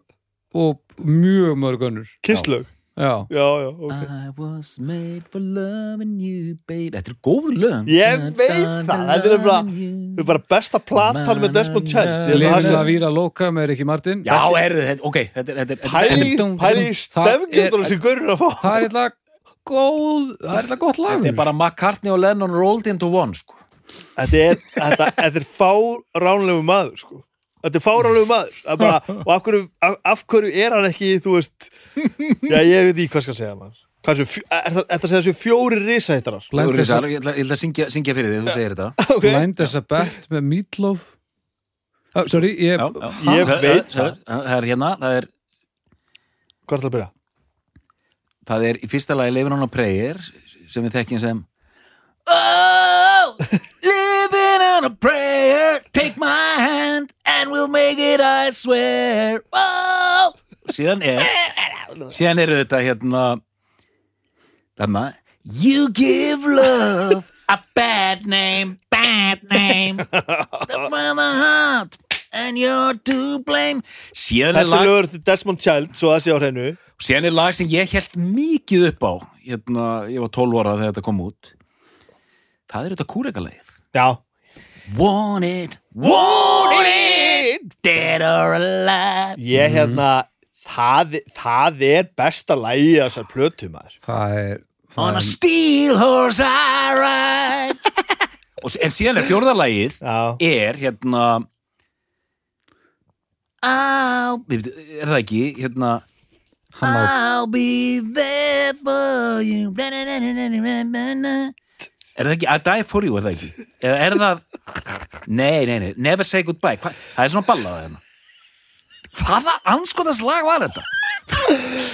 Speaker 1: og mjög mörg önnur
Speaker 2: Kisslög
Speaker 1: Já,
Speaker 2: Já, já, ok
Speaker 3: I was made for loving you, baby Þetta er góð lög
Speaker 2: Ég veit það, þetta er bara- Þau bara besta platan með Desmond Child Ég held að
Speaker 1: Lina
Speaker 2: það sé-
Speaker 1: Víra Lóka með Rikki Martin
Speaker 3: Já, er þetta, ok, þetta er, þetta er
Speaker 2: Pæli
Speaker 1: Dum, dum,
Speaker 2: pæli í
Speaker 1: það er-
Speaker 2: stefngjöndunum sem gaurur að fá
Speaker 1: Það er eitthvað góð Það er eitthvað gott lag
Speaker 3: Þetta er bara McCartney og Lennon rolled into one, sko
Speaker 2: Þetta er, þetta, þetta er fáránlegu maður sko. Þetta er fáránlegu maður Það er bara, og af hverju, af, af hverju er hann ekki þú veist Já, ég veit ekki hvað skal segja maður Hvað sem, er það að segja þessu fjóri risahittarar
Speaker 3: Þú
Speaker 1: Blind as
Speaker 3: eru
Speaker 1: a-
Speaker 3: þessar, ég ætla ég ætla að syngja, syngja fyrir þig, þú segir þetta
Speaker 2: okay.
Speaker 1: Blind as a Bat með Meatloaf ah, Sorry, ég
Speaker 3: já, já.
Speaker 2: Ég
Speaker 3: Það-
Speaker 2: veit
Speaker 3: það Það er hérna, það er,
Speaker 2: Hvað er það að byrja?
Speaker 3: það er í fyrsta lagi Leifin on a prayer sem við þekkjum sem Oh, living on a prayer Take my hand and we'll make it, I swear Oh Síðan er Síðan eru þetta hérna Þarna You give love a bad name Bad name From the heart And you're to blame Síðan er
Speaker 2: Þessi
Speaker 3: lag
Speaker 2: lögur til Desmond Child, svo það sé á hreinu
Speaker 3: Síðan er lag sem ég held mikið upp á hérna, ég var 12 ára þegar þetta kom út Það er þetta kúrekalagið
Speaker 2: Já,
Speaker 3: Wanted, wanted Dead or alive
Speaker 2: ég hérna það, það er besta lægi að þessar plötu maður
Speaker 1: Það er það
Speaker 3: On a
Speaker 1: er-
Speaker 3: steel horse I ride Og, s- En síðan er fjórðalagið
Speaker 2: Já,
Speaker 3: er hérna I'll, Nei, veitu, er það ekki hérna
Speaker 1: hann á
Speaker 3: I'll be there for you Na, na, na, na, na, na, na, na. Er það ekki, I die for you, er það ekki Eða er það Nei, nei, nei, never say goodbye Hva? Það er svona ballað hérna Hvaða anskotas lag var þetta?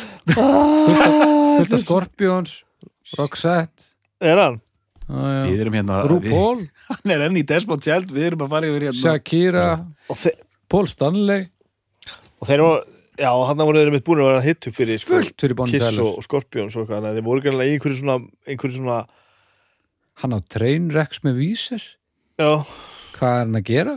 Speaker 1: Þetta Scorpions Roxette
Speaker 2: er hann?
Speaker 1: ah,
Speaker 3: Við erum hérna
Speaker 1: RuPaul,
Speaker 3: Hann er enn í Desmond Child, við erum að fara yfir hérna
Speaker 1: Shakira
Speaker 2: Og, þe
Speaker 1: Paul Stanley
Speaker 2: og þeir voru, já, hann voru þeir mitt búin að vera hitt upp fyrir sko,
Speaker 1: Fullt fyrir Bonnie
Speaker 2: Kiss
Speaker 1: Tyler
Speaker 2: og Scorpions og eitthvað þannig að þeir voru greinlega í einhverju svona, einhverju svona
Speaker 1: Hann á Train Rex með Vísir
Speaker 2: já,
Speaker 1: Hvað er hann að gera?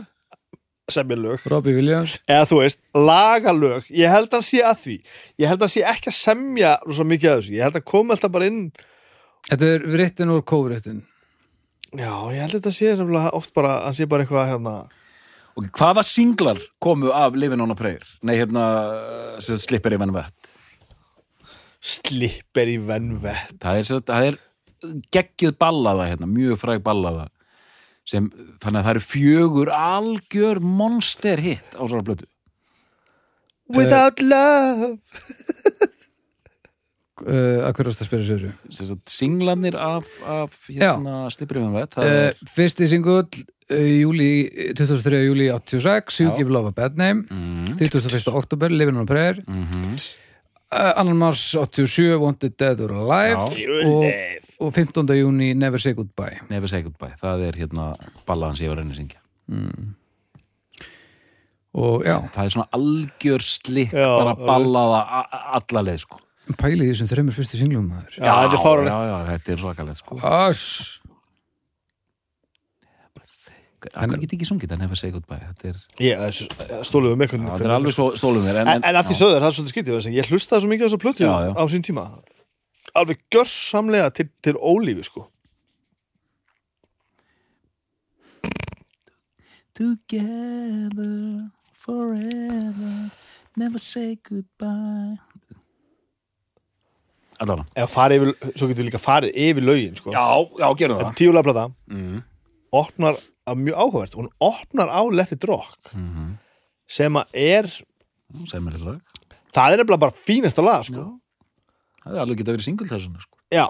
Speaker 2: semja lög
Speaker 1: Robbie Williams
Speaker 2: eða þú veist, lagalög ég held að hann sé að því ég held að hann sé ekki að semja rosa mikið að þessu ég held að hann komi alltaf bara inn
Speaker 1: Þetta er réttin úr kófréttin
Speaker 2: já, ég held að þetta sé nefnilega oft bara hann sé bara eitthvað hérna
Speaker 3: Og hvaða singlar komu af Living on a Prayer? Nei, hérna sem Slipper í Venvett
Speaker 2: slipper í venvett
Speaker 3: Það er, sem sagt- það er geggjuð ballaða hérna, mjög fræg ballaða sem, þannig að það eru fjögur algjör monster hitt á svona blötu
Speaker 1: Eh.
Speaker 2: without love
Speaker 1: uh, Að hverjast að spyrja sér
Speaker 3: sem sagt, singlanir af, af hérna slipurinn vett það
Speaker 1: uh,
Speaker 2: Eh,
Speaker 3: er,
Speaker 1: Fyrsti singull uh, júli, 23. júli 86 You
Speaker 3: Já.
Speaker 1: Give Love a Bad Name
Speaker 3: mm,
Speaker 1: 31. oktober, Living on a Prayer
Speaker 3: mm
Speaker 2: mhm.
Speaker 1: uh, 2. mars 87 Wanted Dead or Alive
Speaker 2: Your
Speaker 1: og,
Speaker 2: love.
Speaker 1: og 15. júni Never Say Goodbye
Speaker 3: Never Say Goodbye, það er hérna ballaðan sem ég var að reyna að syngja
Speaker 1: og já,
Speaker 3: það er svona algjör slitt
Speaker 2: Já,
Speaker 3: bara
Speaker 2: það er-
Speaker 3: ballaða a- a- alla leið sko.
Speaker 1: pæli því sem þreymur fyrstu singlum maður
Speaker 2: já, þetta er fáralegt
Speaker 3: já, já, þetta er svakalegt sko.
Speaker 1: Ass
Speaker 3: hann get ekki sungið það Never Say Goodbye þetta er,
Speaker 2: ég eh, stóluðu með
Speaker 3: það er alveg svo stólum mér en,
Speaker 2: en, en að því
Speaker 3: já.
Speaker 2: söður, það er svolítið skytið þess að ég hlustaði svo mikið á þess að plötu
Speaker 3: Já, já.
Speaker 2: á sín tíma alveg gjörsamlega til, til ólífi sko
Speaker 3: Together forever Never say goodbye Allána
Speaker 2: eða farið yfir, svo getur við líka farið yfir lögin sko,
Speaker 3: Já, já, gerum
Speaker 2: þetta er tíulega plata
Speaker 3: mm.
Speaker 2: opnar, að mjög áhugavert hún opnar á Let it rock
Speaker 3: Mm -hmm.
Speaker 2: sem að er,
Speaker 3: Sem er þetta lag
Speaker 2: það er nefnilega bara fínasta lag sko,
Speaker 3: Já. Það er alveg geta verið single þessuna sko.
Speaker 2: já,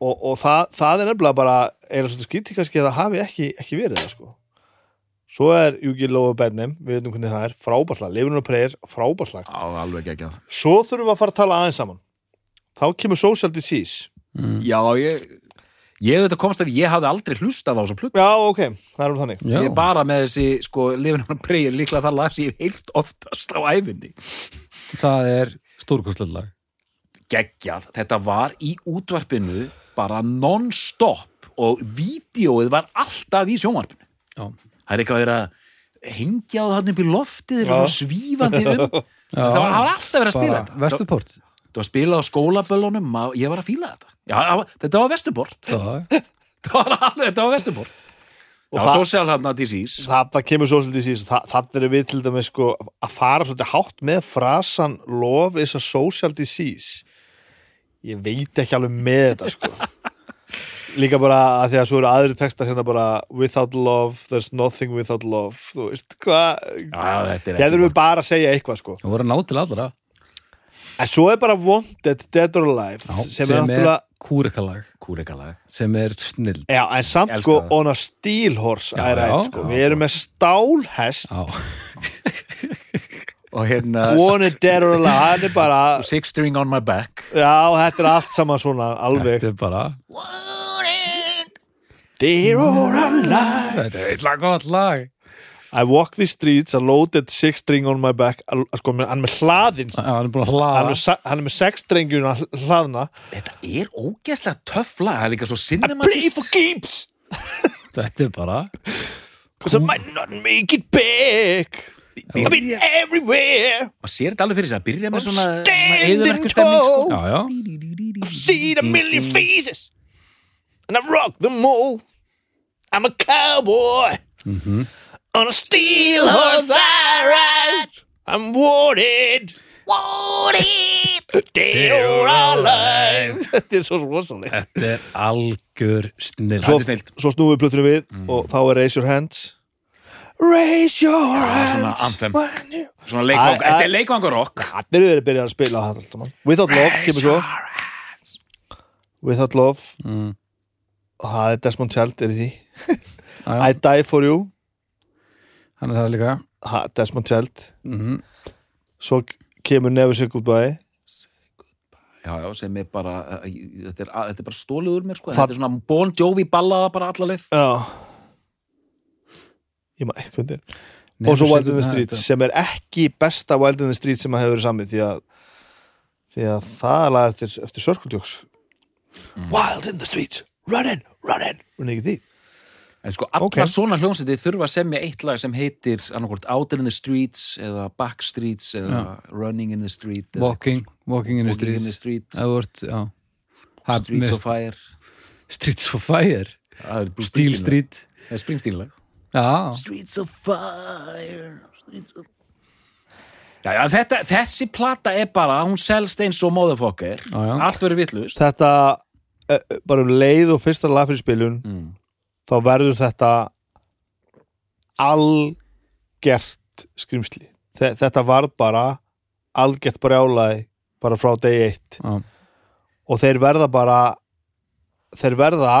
Speaker 2: og, og það, það er nefnilega bara, eða svolítið skytið kannski að það hafi ekki, ekki verið það sko svo er Júki Lóa Bennum við veitum hvernig það er, frábærslag, lifinu og preyir frábærslag,
Speaker 3: Já, alveg ekki að
Speaker 2: svo þurfum við að fara að tala aðeins saman þá kemur Social Disease
Speaker 1: mm.
Speaker 3: Já, ég Ég hef þetta komst að ég hafði aldrei hlustað á þessa plötu
Speaker 2: Já, ok, það erum þannig
Speaker 1: Já,
Speaker 3: Ég er bara með þessi, sko, lifin hann preyir líklega það lag sem ég hef heilt oftast á æfinni
Speaker 1: það er stórkostlega lag
Speaker 3: geggjað, þetta var í útvarpinu bara non-stop og vídeoið var alltaf í sjónvarpinu
Speaker 1: Já.
Speaker 3: það er eitthvað að vera hengja á það upp í
Speaker 2: Já.
Speaker 3: loftið þeir eru svona svífandi um það var, það var alltaf verið að spila
Speaker 1: bara
Speaker 3: þetta það,
Speaker 1: vestuport
Speaker 3: það var spilað á skólaböllunum að- ég var að fíla þetta já, það var- þetta var vesturbort
Speaker 1: Já,
Speaker 3: þetta var, alveg- þetta var vesturbort
Speaker 2: Og
Speaker 3: og já,
Speaker 2: það-
Speaker 3: social hérna disease
Speaker 2: Þarna kemur svo svolítið síðan Þa, Þannig erum við til dæmis sko að fara svolítið hátt með frasan love is a social disease Ég veit ekki alveg með þetta sko Líka bara að því að svo eru aðri textar hérna bara without love, there's nothing without love Þú veist,
Speaker 3: já,
Speaker 2: hvað
Speaker 3: þetta
Speaker 2: Ég
Speaker 3: er ekki
Speaker 2: þurfum bara að segja eitthvað sko
Speaker 1: það voru að ná til allra
Speaker 2: En svo er bara wanted, dead or alive
Speaker 1: Já,
Speaker 2: sem, er náttúrulega
Speaker 1: kúrikalag
Speaker 3: kúrikalag
Speaker 1: sem er snill
Speaker 2: Já, en samt
Speaker 3: Elska
Speaker 2: sko
Speaker 3: það.
Speaker 2: on a steel horse
Speaker 1: Já,
Speaker 2: I ride,
Speaker 1: já.
Speaker 2: sko.
Speaker 3: Já,
Speaker 2: Við erum með stálhest
Speaker 1: Já,
Speaker 3: og hérna
Speaker 2: wanted, dead or alive Það er bara
Speaker 3: six string on my back
Speaker 2: Já, þetta er allt saman svona, alveg
Speaker 1: þetta er bara
Speaker 2: Dear or alive
Speaker 1: Þetta er eitthvað gott lag
Speaker 2: I walk these streets, a loaded six string on my back Al- Sko, með- hann er með hlaðin
Speaker 1: Já, hann er búin að
Speaker 2: Hann er
Speaker 1: hlaða
Speaker 2: með, sa- hann er með sex strengjur hlaðna
Speaker 3: þetta er ógeðslega töffla það er líka svo
Speaker 2: I play for
Speaker 3: cinematist
Speaker 2: keeps
Speaker 1: Þetta er bara
Speaker 2: Cause I might not make it back I've been everywhere
Speaker 3: maður sér þetta alveg fyrir sig að byrja með svona, svona
Speaker 2: Standing
Speaker 3: eðurverku stemning sko.
Speaker 2: tall
Speaker 1: Já, já,
Speaker 2: Seen a million faces And I rock them all I'm a cowboy Mm-hmm. On a steel horse I ride I'm wanted Wanted Dead or alive Þetta er svo rosalegt
Speaker 1: þetta er algjör snill
Speaker 2: Svo,
Speaker 3: er snillt.
Speaker 2: Eh, svo snúum við plötunum við og þá er Raise Your Hands Raise Your
Speaker 3: svona
Speaker 2: Hands
Speaker 3: anthem.
Speaker 2: when you-
Speaker 3: svona
Speaker 2: Æ,
Speaker 3: leikvang,
Speaker 2: æ.
Speaker 3: þetta er leikvangarokk
Speaker 2: Allir eru að byrja að spila þetta allt saman. Without Love kemur svo Without Love
Speaker 1: Mm.
Speaker 2: og það er Desmond Child er í því
Speaker 1: Já,
Speaker 2: I
Speaker 1: já,
Speaker 2: Die For You
Speaker 1: Hann er það líka
Speaker 2: ha, Desmond Child
Speaker 1: Mhm.
Speaker 2: svo kemur Never Say Goodbye
Speaker 3: já, já, sem er bara uh, ég- þetta er, a- þetta er bara stólið úr mér sko. en
Speaker 2: Það-
Speaker 3: þetta er svona Bon Jovi ballaða bara alla leið
Speaker 2: já ég maður eitthvað þér
Speaker 1: Nei,
Speaker 2: og svo
Speaker 1: þú
Speaker 2: Wild in
Speaker 1: setur
Speaker 2: the
Speaker 1: það-
Speaker 2: Street sem er ekki besta Wild in the Street sem að hefur verið samið því að því að það er lagað eftir, eftir Circle Jokes Wild in the Streets Runnin, runnin runnin ekki því
Speaker 3: en sko alla
Speaker 2: Ok.
Speaker 3: svona hljómsæti þurfa að semja eitt lag sem heitir annarkvort Out in the Streets eða Back Streets eða Running in the Street eða
Speaker 1: Walking, walking in the
Speaker 3: Walking in the
Speaker 1: streets
Speaker 3: Street
Speaker 1: Það vort, já Ha,
Speaker 3: Streets
Speaker 1: mér-
Speaker 3: of Fire
Speaker 1: Streets of Fire
Speaker 3: Það er Bruce
Speaker 1: Steel
Speaker 3: Springsteen-lag.
Speaker 1: Street
Speaker 3: Það er Springsteen lag
Speaker 1: Já,
Speaker 3: Streets of Fire Streets of... Já, já, þetta, þessi plata er bara, hún selst eins og motherfucker,
Speaker 1: Já, já.
Speaker 3: allt verið vittlust
Speaker 2: þetta eh, eh, bara um leið og fyrsta lag fyrir spilun
Speaker 3: mm.
Speaker 2: þá verður þetta algert skrimsli Þe- þetta var bara algert brjálaði bara frá degi eitt
Speaker 1: já,
Speaker 2: og þeir verða bara þeir verða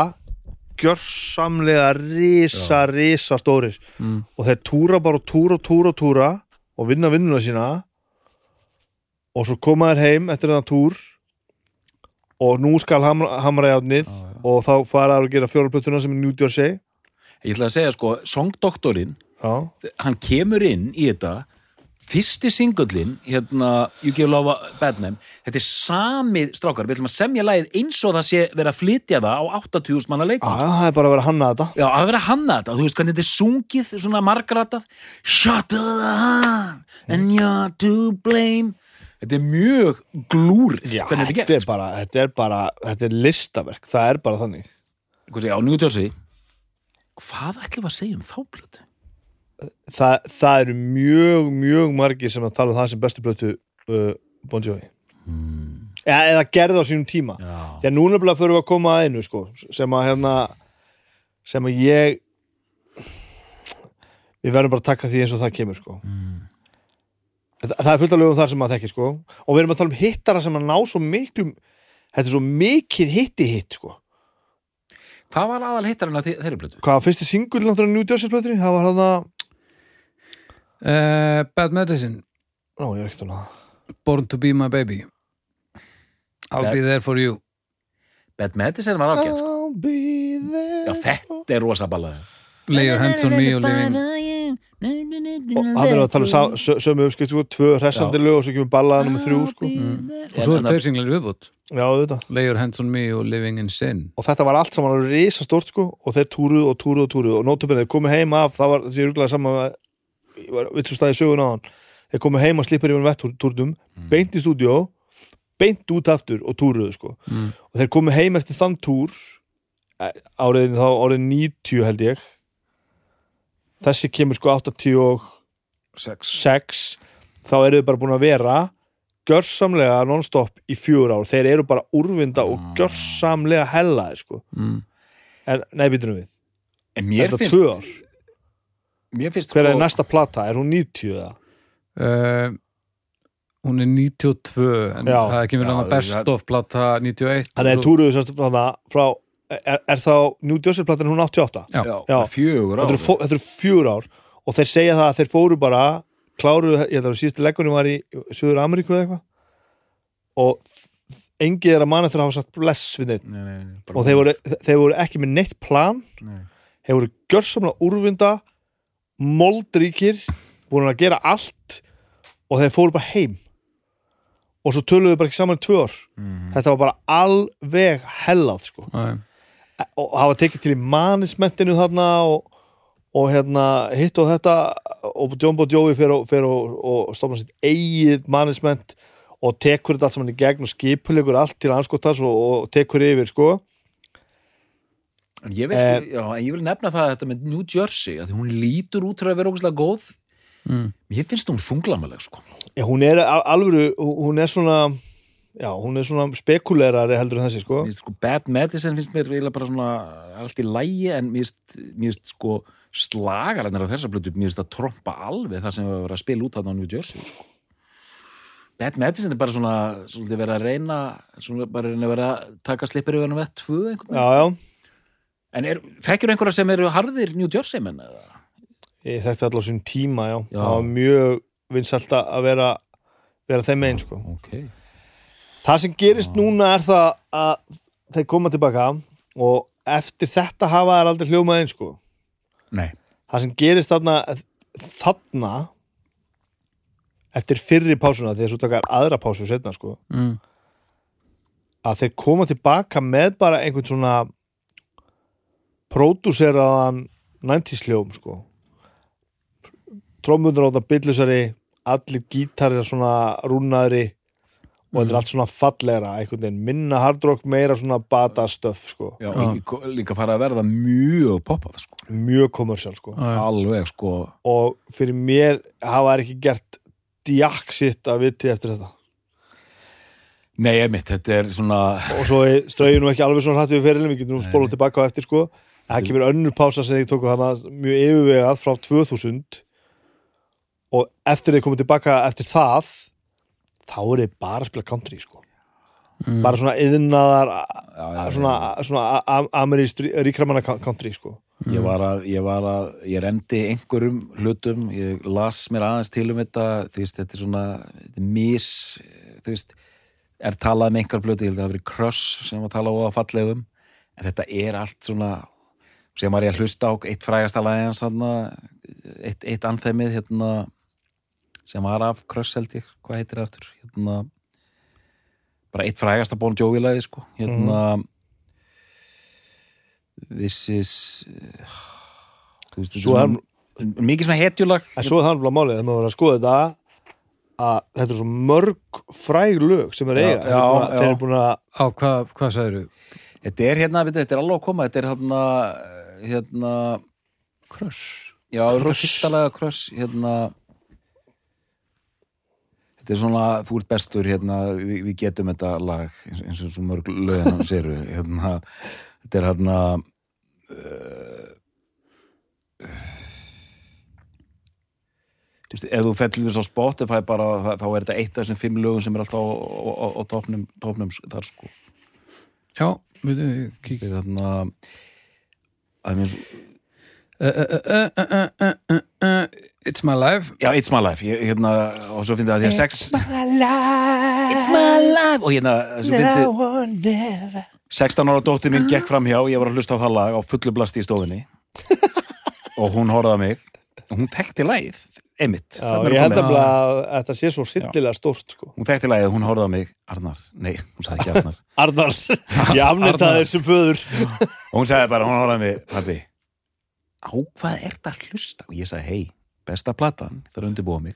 Speaker 2: gjörsamlega risa, risa stórir
Speaker 1: Mm.
Speaker 2: og þeir túra bara og túra og túra og túra og vinna vinnuna sína og svo koma þeir heim eftir þennan túr og nú skal hamra, hamra játnið
Speaker 1: Já, já.
Speaker 2: og þá fara þeir að gera fjóraplötuna sem er New Jersey
Speaker 3: Ég ætla að segja sko, songdoktorinn
Speaker 2: já,
Speaker 3: hann kemur inn í þetta fyrsti singullin, hérna You Give Love a Bad Name þetta er samið strákar, við ætlum að semja lagið eins og það sé verið að flytja það á 80.000 manna
Speaker 2: Já,
Speaker 3: leikum
Speaker 2: já, það er bara að vera að hanna þetta
Speaker 3: Já, að vera hanna þetta, þú veist hvernig þetta er sungið svona margratað Shut to the heart and you're to blame Þetta er mjög glúrið hvernig þetta er
Speaker 2: þetta er
Speaker 3: gert
Speaker 2: bara, þetta er bara þetta er listaverk, það er bara þannig
Speaker 3: Hvað segja, á New Jersey Hvað ætlum við að segja um þá blötu?
Speaker 2: Þa, það eru mjög, mjög margir sem að tala um það sem bestu blötu uh, Bon Jovi eða, eða gerði á sínum tíma
Speaker 3: Já,
Speaker 2: því að núna bara fyrir við að koma að einu sko, sem að hérna sem að ég við verðum bara að taka því eins og það kemur sko.
Speaker 3: Mm.
Speaker 2: það, það er fullt af lögum þar sem að þekki sko. og við erum að tala um hittara sem að ná svo miklu þetta er svo mikið hitti hitt sko.
Speaker 3: hvað var aðal hittarinn að þeirri blötu?
Speaker 2: hvað var fyrsti singull náttúrulega New Jersey plötri það var hann að,
Speaker 1: Eh, Bad Medicine
Speaker 2: ná ég er ekkert að ná það
Speaker 1: Born to be my baby I'll
Speaker 3: Bad-
Speaker 1: be there for you
Speaker 3: Bad Medicine var ágætt sko.
Speaker 2: I'll be there
Speaker 3: Já, þetta er rosa ballaði
Speaker 1: Lay your hands on me og living
Speaker 2: og hann er að tala um sá- sö- sömu uppskipt sko, tvö hressandi lög og svo kemur ballaða nummer þrjú sko.
Speaker 1: Og svo er tveir singlar í viðbútt
Speaker 2: já, þetta.
Speaker 1: Lay your hands on me og living in sin
Speaker 2: og þetta var allt saman alveg risastórt sko og þeir túruð og túruð og túruð og nótubenið komið heim af, það var þessi rúglega saman ég var við svo staði sögun á hann þeir komu heim að slippa yfir vettúrnum
Speaker 3: Mm.
Speaker 2: beint í stúdíó beint út aftur og túruðu sko
Speaker 3: mm.
Speaker 2: og þeir komu heim eftir þann túr eh, áriðin þá árið 90 held ég þessi kemur sko 86
Speaker 3: sex
Speaker 2: þá eru þau bara búin að vera gjörsamlega non-stop í fjör ár þeir eru bara úrvinda og
Speaker 3: Ah.
Speaker 2: gjörsamlega hellaði sko
Speaker 3: mm.
Speaker 2: en nei, býtum við,
Speaker 3: en
Speaker 2: er
Speaker 3: mér
Speaker 2: það
Speaker 3: finnst sko-
Speaker 2: tvö ár
Speaker 3: mér finnst
Speaker 2: hver
Speaker 3: sko,
Speaker 2: er næsta plata, er hún 90 eða?
Speaker 1: uh, hún er 92 en
Speaker 2: Já.
Speaker 1: það er ekki verið
Speaker 3: Já,
Speaker 1: hann að best
Speaker 3: það-
Speaker 1: of plata 91
Speaker 2: þannig
Speaker 3: Sko-
Speaker 2: að
Speaker 1: og-
Speaker 2: túruðu semst þarna frá er, er þá New Jersey platan hún 88
Speaker 1: Já.
Speaker 3: já,
Speaker 2: Já.
Speaker 3: fjögur
Speaker 2: þetta
Speaker 3: ára
Speaker 2: eru fó- þetta eru fjör ár og þeir segja það að þeir fóru bara kláruðu, ég þarf að síðustu leggunum var í Suður Ameríku eða eitthvað og engið er að manna þegar hafa sagt bless við neitt
Speaker 3: nei, nei, nei, bara-
Speaker 2: og þeir voru, þeir voru ekki með neitt plan
Speaker 3: Nei.
Speaker 2: þeir voru gjörsamlega úrvinda moldríkir voru að gera allt og þeir fóru bara heim og svo töluðu bara ekki saman í tvö ár
Speaker 3: Mhm.
Speaker 2: þetta var bara alveg hellað sko
Speaker 1: Æ,
Speaker 2: og hafa tekið til í manismentinu þarna og, og hérna hitt og þetta og John Bon Jovi fer og, fer og, og stofna sitt eigið manisment og tekur þetta allt saman í gegn og skipulegur allt til anskotans og, og tekur yfir sko
Speaker 3: En ég, vil,
Speaker 2: Eh,
Speaker 3: já, en ég vil nefna það að þetta með New Jersey að því hún lítur út fyrir að vera ógustlega góð
Speaker 1: mm.
Speaker 3: mér finnst hún þunglamaleg sko.
Speaker 2: ja, hún er al- alvöru, hún er svona já, hún er svona spekulerari heldur en þessi sko
Speaker 3: Mér finnst, sko, Bad Medicine finnst mér eiginlega bara svona allt í lægi en mér finnst, mér finnst sko slagarinnar á þessa blötu mér finnst að trompa alveg það sem við verið að spila út þarna á New Jersey sko. Bad Medicine er bara svona svolítið verið að reyna svona bara að reyna að vera að taka slipper yfir hann vett tvö einhvern veginn.
Speaker 2: já, já,
Speaker 3: En er, þekkir einhverja sem eru harðir New Jersey menn eða?
Speaker 2: ég þekkti allavega svona tíma já,
Speaker 3: Já.
Speaker 2: það var mjög vinsælt að vera vera þeim einn sko
Speaker 3: Ok
Speaker 2: Það sem gerist núna er það að þeir koma tilbaka og eftir þetta hafa þær aldrei hljómað eins sko.
Speaker 3: Nei
Speaker 2: Það sem gerist þarna þarna eftir fyrri pásuna því að svo taka þær aðra pásu setna sko
Speaker 1: Mm.
Speaker 2: að þeir koma tilbaka með bara einhvern svona pródúseraðan 90s hljóm sko trómmundur á þetta billusari allir gítarir svona rúnaðri og þetta er allt svona fallegra einhvern veginn minna hardrock meira svona bata stöf sko
Speaker 3: Já,
Speaker 1: Já.
Speaker 3: líka- líka fara að verða mjög poppað sko
Speaker 2: mjög kommersial sko
Speaker 1: Æ,
Speaker 3: alveg sko
Speaker 2: og fyrir mér hafa þær ekki gert djakk sitt að viti eftir þetta
Speaker 3: nei, emitt, þetta er svona
Speaker 2: og svo strauði nú ekki alveg svona hrætt við ferilin við getum nú spólað tilbaka á eftir sko en það kemur önnur pása sem þeir tóku hana mjög yfirvegað frá 2000 og eftir þeir komið tilbaka eftir það þá er þeir bara að spila country sko
Speaker 1: Mm.
Speaker 2: bara svona yðnaðar
Speaker 3: já, já,
Speaker 2: svona, svona ameríst ríkramanna country sko
Speaker 3: já. ég var að ég, var að, ég rendi einhverjum hlutum ég las mér aðeins til um þetta þú veist, þetta er svona þetta er mis, þú veist er talað með einhver blötu, ég held að það hafi verið crush sem var talað á að fallegum en þetta er allt svona sem var ég að hlusta á eitt frægasta lagi hans þarna, eitt, eitt anþemið hérna, sem var af crush held ég, hvað heitir það aftur hérna bara eitt frægasta Bon Jovi lagi sko hérna this is eh, þú veist, þetta
Speaker 2: Svo
Speaker 3: er
Speaker 2: er-
Speaker 3: svona mikið svona hetjulag
Speaker 2: en svo er það alveg málið þegar maður verður að skoða þetta að þetta er svo mörg fræg lög sem er
Speaker 3: Já,
Speaker 2: eiga Þeir eru
Speaker 3: já,
Speaker 2: búin að- þeir
Speaker 3: já.
Speaker 2: eru búin að
Speaker 1: á hvað, hvað sagðirðu?
Speaker 3: þetta er hérna, veitu, þetta er alveg að koma þetta er hérna hérna,
Speaker 1: Crush
Speaker 3: já, þetta er
Speaker 2: Crush.
Speaker 3: fyrstalega crush hérna þetta er svona, þú ert bestur hérna, við, við getum þetta lag eins, eins og svo mörg lögin hans eru hérna, þetta er hérna uh, eh, Þú veist, ef þú fellir þess á Spotify bara, þá- þá er þetta eitt af þessum fimm lögum sem er alltaf á, á, á, á topnum, topnum þar sko hérna,
Speaker 1: Já, við við kíkja
Speaker 3: fyrir þarna að mér,
Speaker 1: Uh, uh, uh, uh, uh, uh, uh, It's my life
Speaker 3: já, It's My Life ég, hérna, og svo finnst það að ég sex
Speaker 2: It's
Speaker 3: Life og hérna, svo finnst
Speaker 2: or never
Speaker 3: 16 ára dóttir mín gekk fram hjá ég var að hlusta á það lag á fullu blasti í stofinni og hún horfði á mig og hún þekkti lagið, einmitt
Speaker 2: Já,
Speaker 3: Þarna er
Speaker 2: ég held
Speaker 3: komið.
Speaker 2: nefnilega að þetta sé svo hryllilega stórt sko.
Speaker 3: hún þekkti lagið, hún horfði á mig Arnar, nei, hún sagði ekki Arnar
Speaker 2: Arnar, ég afnita þér sem föður
Speaker 3: og hún sagði bara, hún horfði á mig pabbi, á hvað er þetta að hlusta? og ég sagði, hei, besta platan, það er undirbúa mig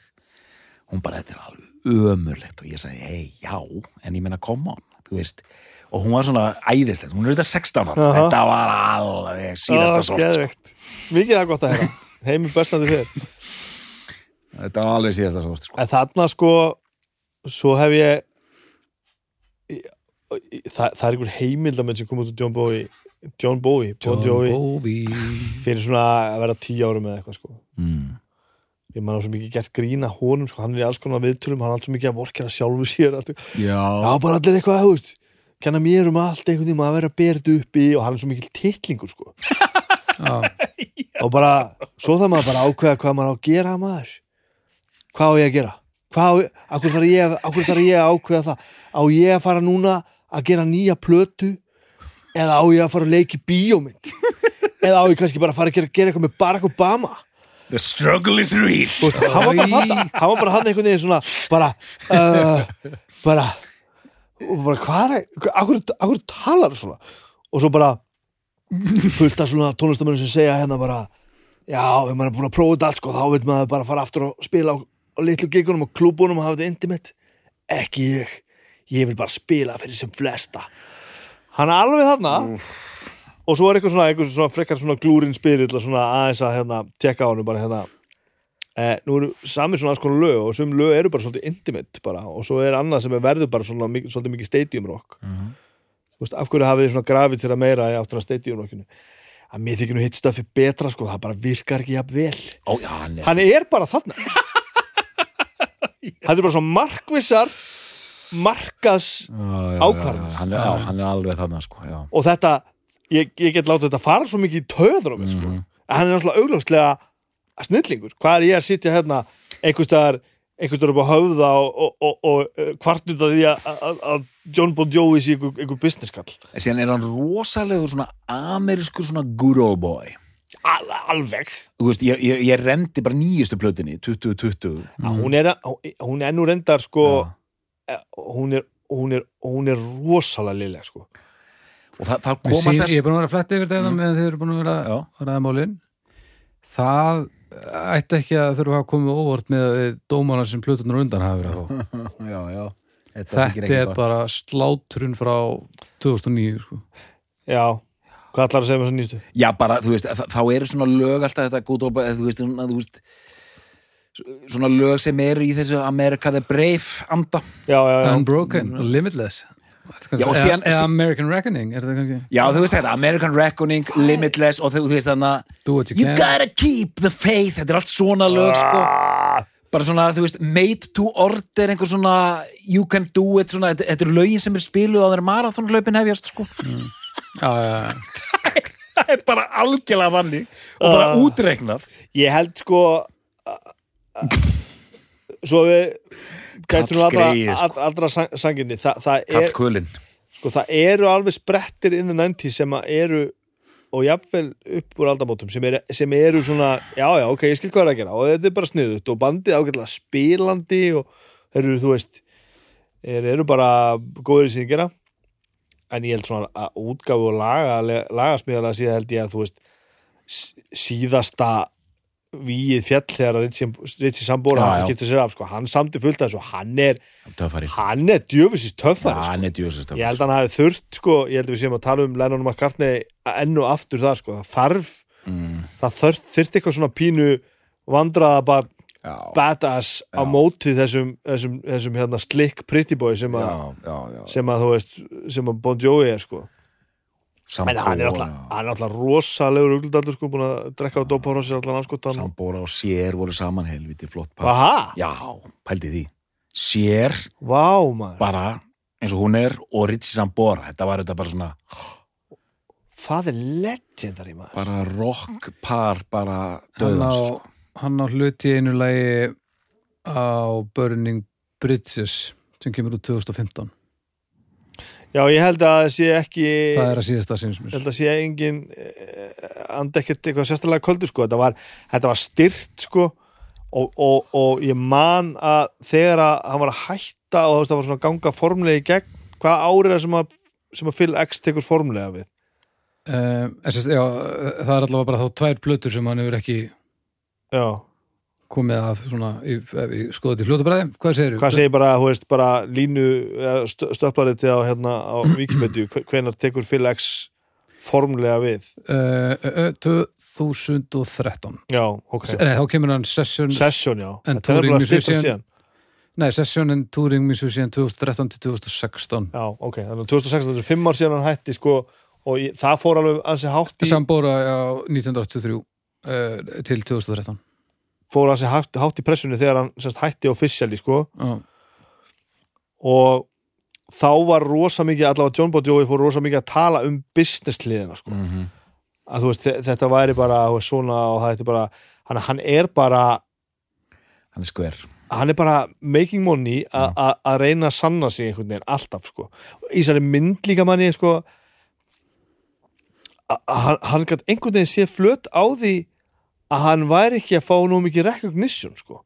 Speaker 3: hún bara, þetta er alveg ömurlegt og ég sagði, hei, já, en ég meina come on, þú veist og hún var svona æðislegt, hún er auðvitað 16 ára
Speaker 2: Aha.
Speaker 3: þetta var alveg síðasta
Speaker 2: Á,
Speaker 3: sort sko.
Speaker 2: geðveikt. Mikið það gott að heyra Heimil bestandi fyrir
Speaker 3: þetta var alveg síðasta sort sko.
Speaker 2: En þarna sko svo hef ég í- í- það, það er einhver heimildamenn sem kom út úr John Bowie John Bowie, Bon Jovi
Speaker 1: Bowie
Speaker 2: fyrir svona að vera tíu árum eða eitthvað sko
Speaker 3: mm.
Speaker 2: ég mann á svo mikið gert grína honum sko, hann er í alls konar viðtölum, hann er alls mikið að vorkera sjálfu sér allt, já
Speaker 3: já,
Speaker 2: bara allir eitthvað þú veist, kenna mér um allt einhvern tíma að vera berð uppi og hann er svo mikil titlingur sko og bara, svo það maður bara að ákveða hvað maður á að gera maður hvað á ég að gera hvað á, akkur þarf ég, akkur þarf ég að ákveða það á ég að fara núna að gera nýja plötu eða á ég að fara að leiki bíómynd eða á ég kannski bara að fara að gera, gera eitthvað með Barack Obama
Speaker 3: the struggle is real
Speaker 2: Þú veist, hann var bara þarna hann var bara hann einhvern veginn svona bara uh, bara og bara hvað er akkur, akkur talar þú svona og svo bara fullt af svona tónlistamönnum sem segja hérna bara já, ef maður er búin að prófa þetta allt sko þá vil maður bara fara aftur og spila á, á litlu gigunum og klúbunum og hafa þetta intimate ekki ég, ég vil bara spila fyrir sem flesta hann er alveg þarna og svo er eitthvað svona, eitthvað svona frekar svona glúrin spyrill og svona aðeins að hérna tjekka á hann bara hérna eh, nú eru sami svona alls konar lög og sum lög eru bara svolítið intimate bara og svo er annað sem er verður bara svona, mik- svolítið mikið stadium rock
Speaker 3: Mhm.
Speaker 2: þú veist, af hverju hafið þið svona grafið til að meira í áttur að stadium rockinu að mér þykir nú hitt stöfi betra sko, það bara virkar ekki jafn vel
Speaker 3: Ó, já, hann er
Speaker 2: hann er bara þarna það er bara svona markvissar markas
Speaker 3: Já, já,
Speaker 2: ákvarðanir.
Speaker 3: já, já, hann er, já, hann er alveg þarna sko, já.
Speaker 2: og þetta, ég, ég get látið þetta fara svo mikið í töður á mig sko
Speaker 3: Mhm.
Speaker 2: en hann er náttúrulega augljóslega snillingur, hvað er ég að sitja hérna einhverstaðar, einhverstaðar upp á höfða og, og, og, og kvartið að því að- að að John Bon Jovi sé einhver, einhver businesskall
Speaker 3: En síðan er hann rosalegur svona amerískur svona good old boy
Speaker 2: Al, alveg
Speaker 3: þú veist, ég, ég, ég rendi bara nýjustu plötinni 2020
Speaker 2: mm. hún, er, að- hún er nú reyndar sko
Speaker 3: Mhm. Já.
Speaker 2: hún er, hún er, hún er rosalega liðlega sko
Speaker 3: og það, það
Speaker 1: Við
Speaker 3: komast
Speaker 1: sín- Ég
Speaker 3: þess
Speaker 1: er búin að vera að fletta yfir þetta
Speaker 3: Mm.
Speaker 1: meðan þið eru búin að vera
Speaker 3: Já.
Speaker 1: að ræða málin Það ætti ekki að þurfa að koma óvart með við dómana sem plötunar undan hafa verið að fá
Speaker 3: já, já, þetta, þykir
Speaker 1: Þetta
Speaker 3: ekki
Speaker 1: er
Speaker 3: gott.
Speaker 1: bara slátrun frá 2009 sko.
Speaker 2: já, hvað ætlar að segja um með þess að nýstu?
Speaker 3: já, bara, þú veist, þá, þá eru svona lög alltaf þetta good old boy, þú veist, svona, þú veist svona lög sem eru í þessu America the Brave anda
Speaker 2: já, já, já,
Speaker 1: Unbroken, Limitless
Speaker 3: Já, og síðan-
Speaker 1: eða, eða American Reckoning er þetta kannski
Speaker 3: já, þú veist þetta, American Reckoning, Limitless og þú, þú veist þannig að
Speaker 1: Do what you,
Speaker 3: You
Speaker 1: can
Speaker 3: gotta keep the faith, þetta er allt svona lög sko
Speaker 2: Ah,
Speaker 3: bara svona, þú veist, made to order einhver svona, you can do it svona, þetta, þetta eru lögin sem er spiluð á þeirra marathonlaupin hefjast, sko
Speaker 1: Já, já, já.
Speaker 3: það er bara algjörlega vannig og bara
Speaker 2: Ah.
Speaker 3: útreiknað
Speaker 2: ég held sko a- a- svo við gætum nú allra,
Speaker 3: Kallgreyið,
Speaker 2: allra, allra sang, sanginni Þa, það er
Speaker 3: kallkulinn
Speaker 2: sko, það eru alveg sprettir in the 90s sem að eru og jafnvel upp úr aldamótum sem, er, sem eru svona, já já, ok, ég skil hvað er að gera og þetta er bara sniðut og bandið ágætlega spilandi og þeir eru, þú veist þeir eru bara góður í síðan gera en ég held svona að útgáfu og laga, lagasmiðalega síðan held ég að þú veist s- síðasta víið fjall þegar að Ritchie, Ritchie Sambora
Speaker 3: Já,
Speaker 2: hann
Speaker 3: já.
Speaker 2: skiptir sér af, sko, hann samti fullt af þessu hann er,
Speaker 3: töffari,
Speaker 2: hann er djöfisist töffari, sko
Speaker 3: hann er djúsast
Speaker 2: ég held að hann hafi þurft sko, ég held að við séum að tala um Lennon McCartney enn og aftur það sko, það þarf
Speaker 3: mm,
Speaker 2: það þurft, þurft eitthvað svona pínu vandraða bara
Speaker 3: já,
Speaker 2: badass á
Speaker 3: Já.
Speaker 2: móti þessum, þessum, þessum hérna slick pretty boy sem að,
Speaker 3: já, já, já.
Speaker 2: sem að þú veist sem að Bon Jovi er sko en hann er alltaf,
Speaker 3: sambóra
Speaker 2: hann er alltaf rosalegur ugludallur sko, búin að drekka á dópa á sér allan anskotan
Speaker 3: sambóra og sér voru saman helviti flott par
Speaker 2: Aha,
Speaker 3: já, pældi því sér
Speaker 2: vá maður
Speaker 3: bara eins og hún er og Ritchie Sambora, þetta var þetta bara svona
Speaker 2: það er legendary maður
Speaker 3: bara rock par bara
Speaker 1: hann á,
Speaker 3: döðans sko.
Speaker 1: hann á hluti í einu lagi á Burning Bridges sem kemur úr 2015
Speaker 2: já ég held að það sé ekki
Speaker 1: það er að síðasta sinnsmur
Speaker 2: Ég Eh, held að sé engin eh, andi ekkert eitthvað sérstælega köldu sko þetta var, þetta var styrt sko og, og, og ég man að þegar að hann var að hætta og þú veist, það var svona að ganga formlega í gegn hvað árið er það sem að, sem að Phil X tekur formlega við
Speaker 1: Eh, um, SS, já, það er allavega bara þá tvær plötur sem hann hefur ekki
Speaker 2: já,
Speaker 1: komið að svona, í- ef við skoðum til fljótabræði, hvað segir
Speaker 2: Hvað segir bara, hú veist, bara línu eða stö- stöplariti á, hérna, á Wikipedia, hve- hvenær tekur Phil X formlega við?
Speaker 1: Uh, 2013
Speaker 2: Já, ok.
Speaker 1: Eh, Nei, þá kemur hann Session
Speaker 2: Session, já.
Speaker 1: En
Speaker 2: Þetta er
Speaker 1: Touring
Speaker 2: nefnilega styttra
Speaker 1: Musician-
Speaker 2: síðan.
Speaker 1: Nei, Session and Touring Musician 2013 til 2016
Speaker 2: Já, ok. Þannig að 2016, þetta er fimm ár síðan hann hætti, sko, og ég, það fór alveg ansi hátt í,
Speaker 1: Sambóra á 1983 uh, til 2013
Speaker 2: fór ansi hátt, hátt í pressunni þegar hann semst, hætti officially, sko.
Speaker 1: Já,
Speaker 2: og þá var rosa mikið, allavega John Bon Jovi fór rosa mikið að tala um business hliðina sko.
Speaker 3: mm -hmm.
Speaker 2: að þú veist, þe- þetta væri bara þú veist, svona og það er bara hann, hann er bara,
Speaker 3: hann er skver
Speaker 2: hann er bara making money a- a- að reyna að sanna sig einhvern veginn alltaf sko. í særi mynd líka manni sko, a- a- hann, hann gætt einhvern veginn sé flöt á því að hann væri ekki að fá nú mikið recognition sko.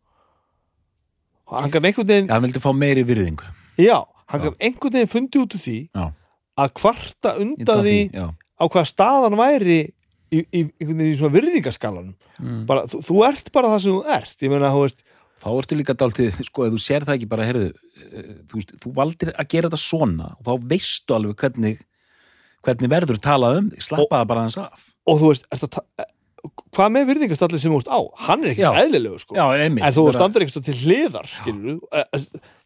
Speaker 2: hann gætt einhvern veginn
Speaker 3: hann vildi fá meiri virðingu
Speaker 2: Já, hann
Speaker 3: Já.
Speaker 2: kann einhvern veginn fundið út úr því
Speaker 3: Já.
Speaker 2: að kvarta
Speaker 3: Ég
Speaker 2: undan
Speaker 3: tók
Speaker 2: því
Speaker 3: já.
Speaker 2: á hvaða staðan væri í, í einhvern veginn í svona virðingaskalanum
Speaker 1: Mm.
Speaker 2: bara, þú, þú ert bara það sem þú ert ég meina, þú veist,
Speaker 3: þá ertu líka dálítið, sko, ef þú sér það ekki bara, heyrðu, eh, þú, veist, þú valdir að gera þetta svona og þá veistu alveg hvernig hvernig verður talað um þig, slappa það bara hans af
Speaker 2: og þú veist ert að ta- e, hvað með virðingastalli sem þú ert á hann er ekki
Speaker 3: Já.
Speaker 2: eðlilegu sko
Speaker 3: Já, einmitt
Speaker 2: en þú
Speaker 3: bara-
Speaker 2: standar eitthvað til hliðar skilur,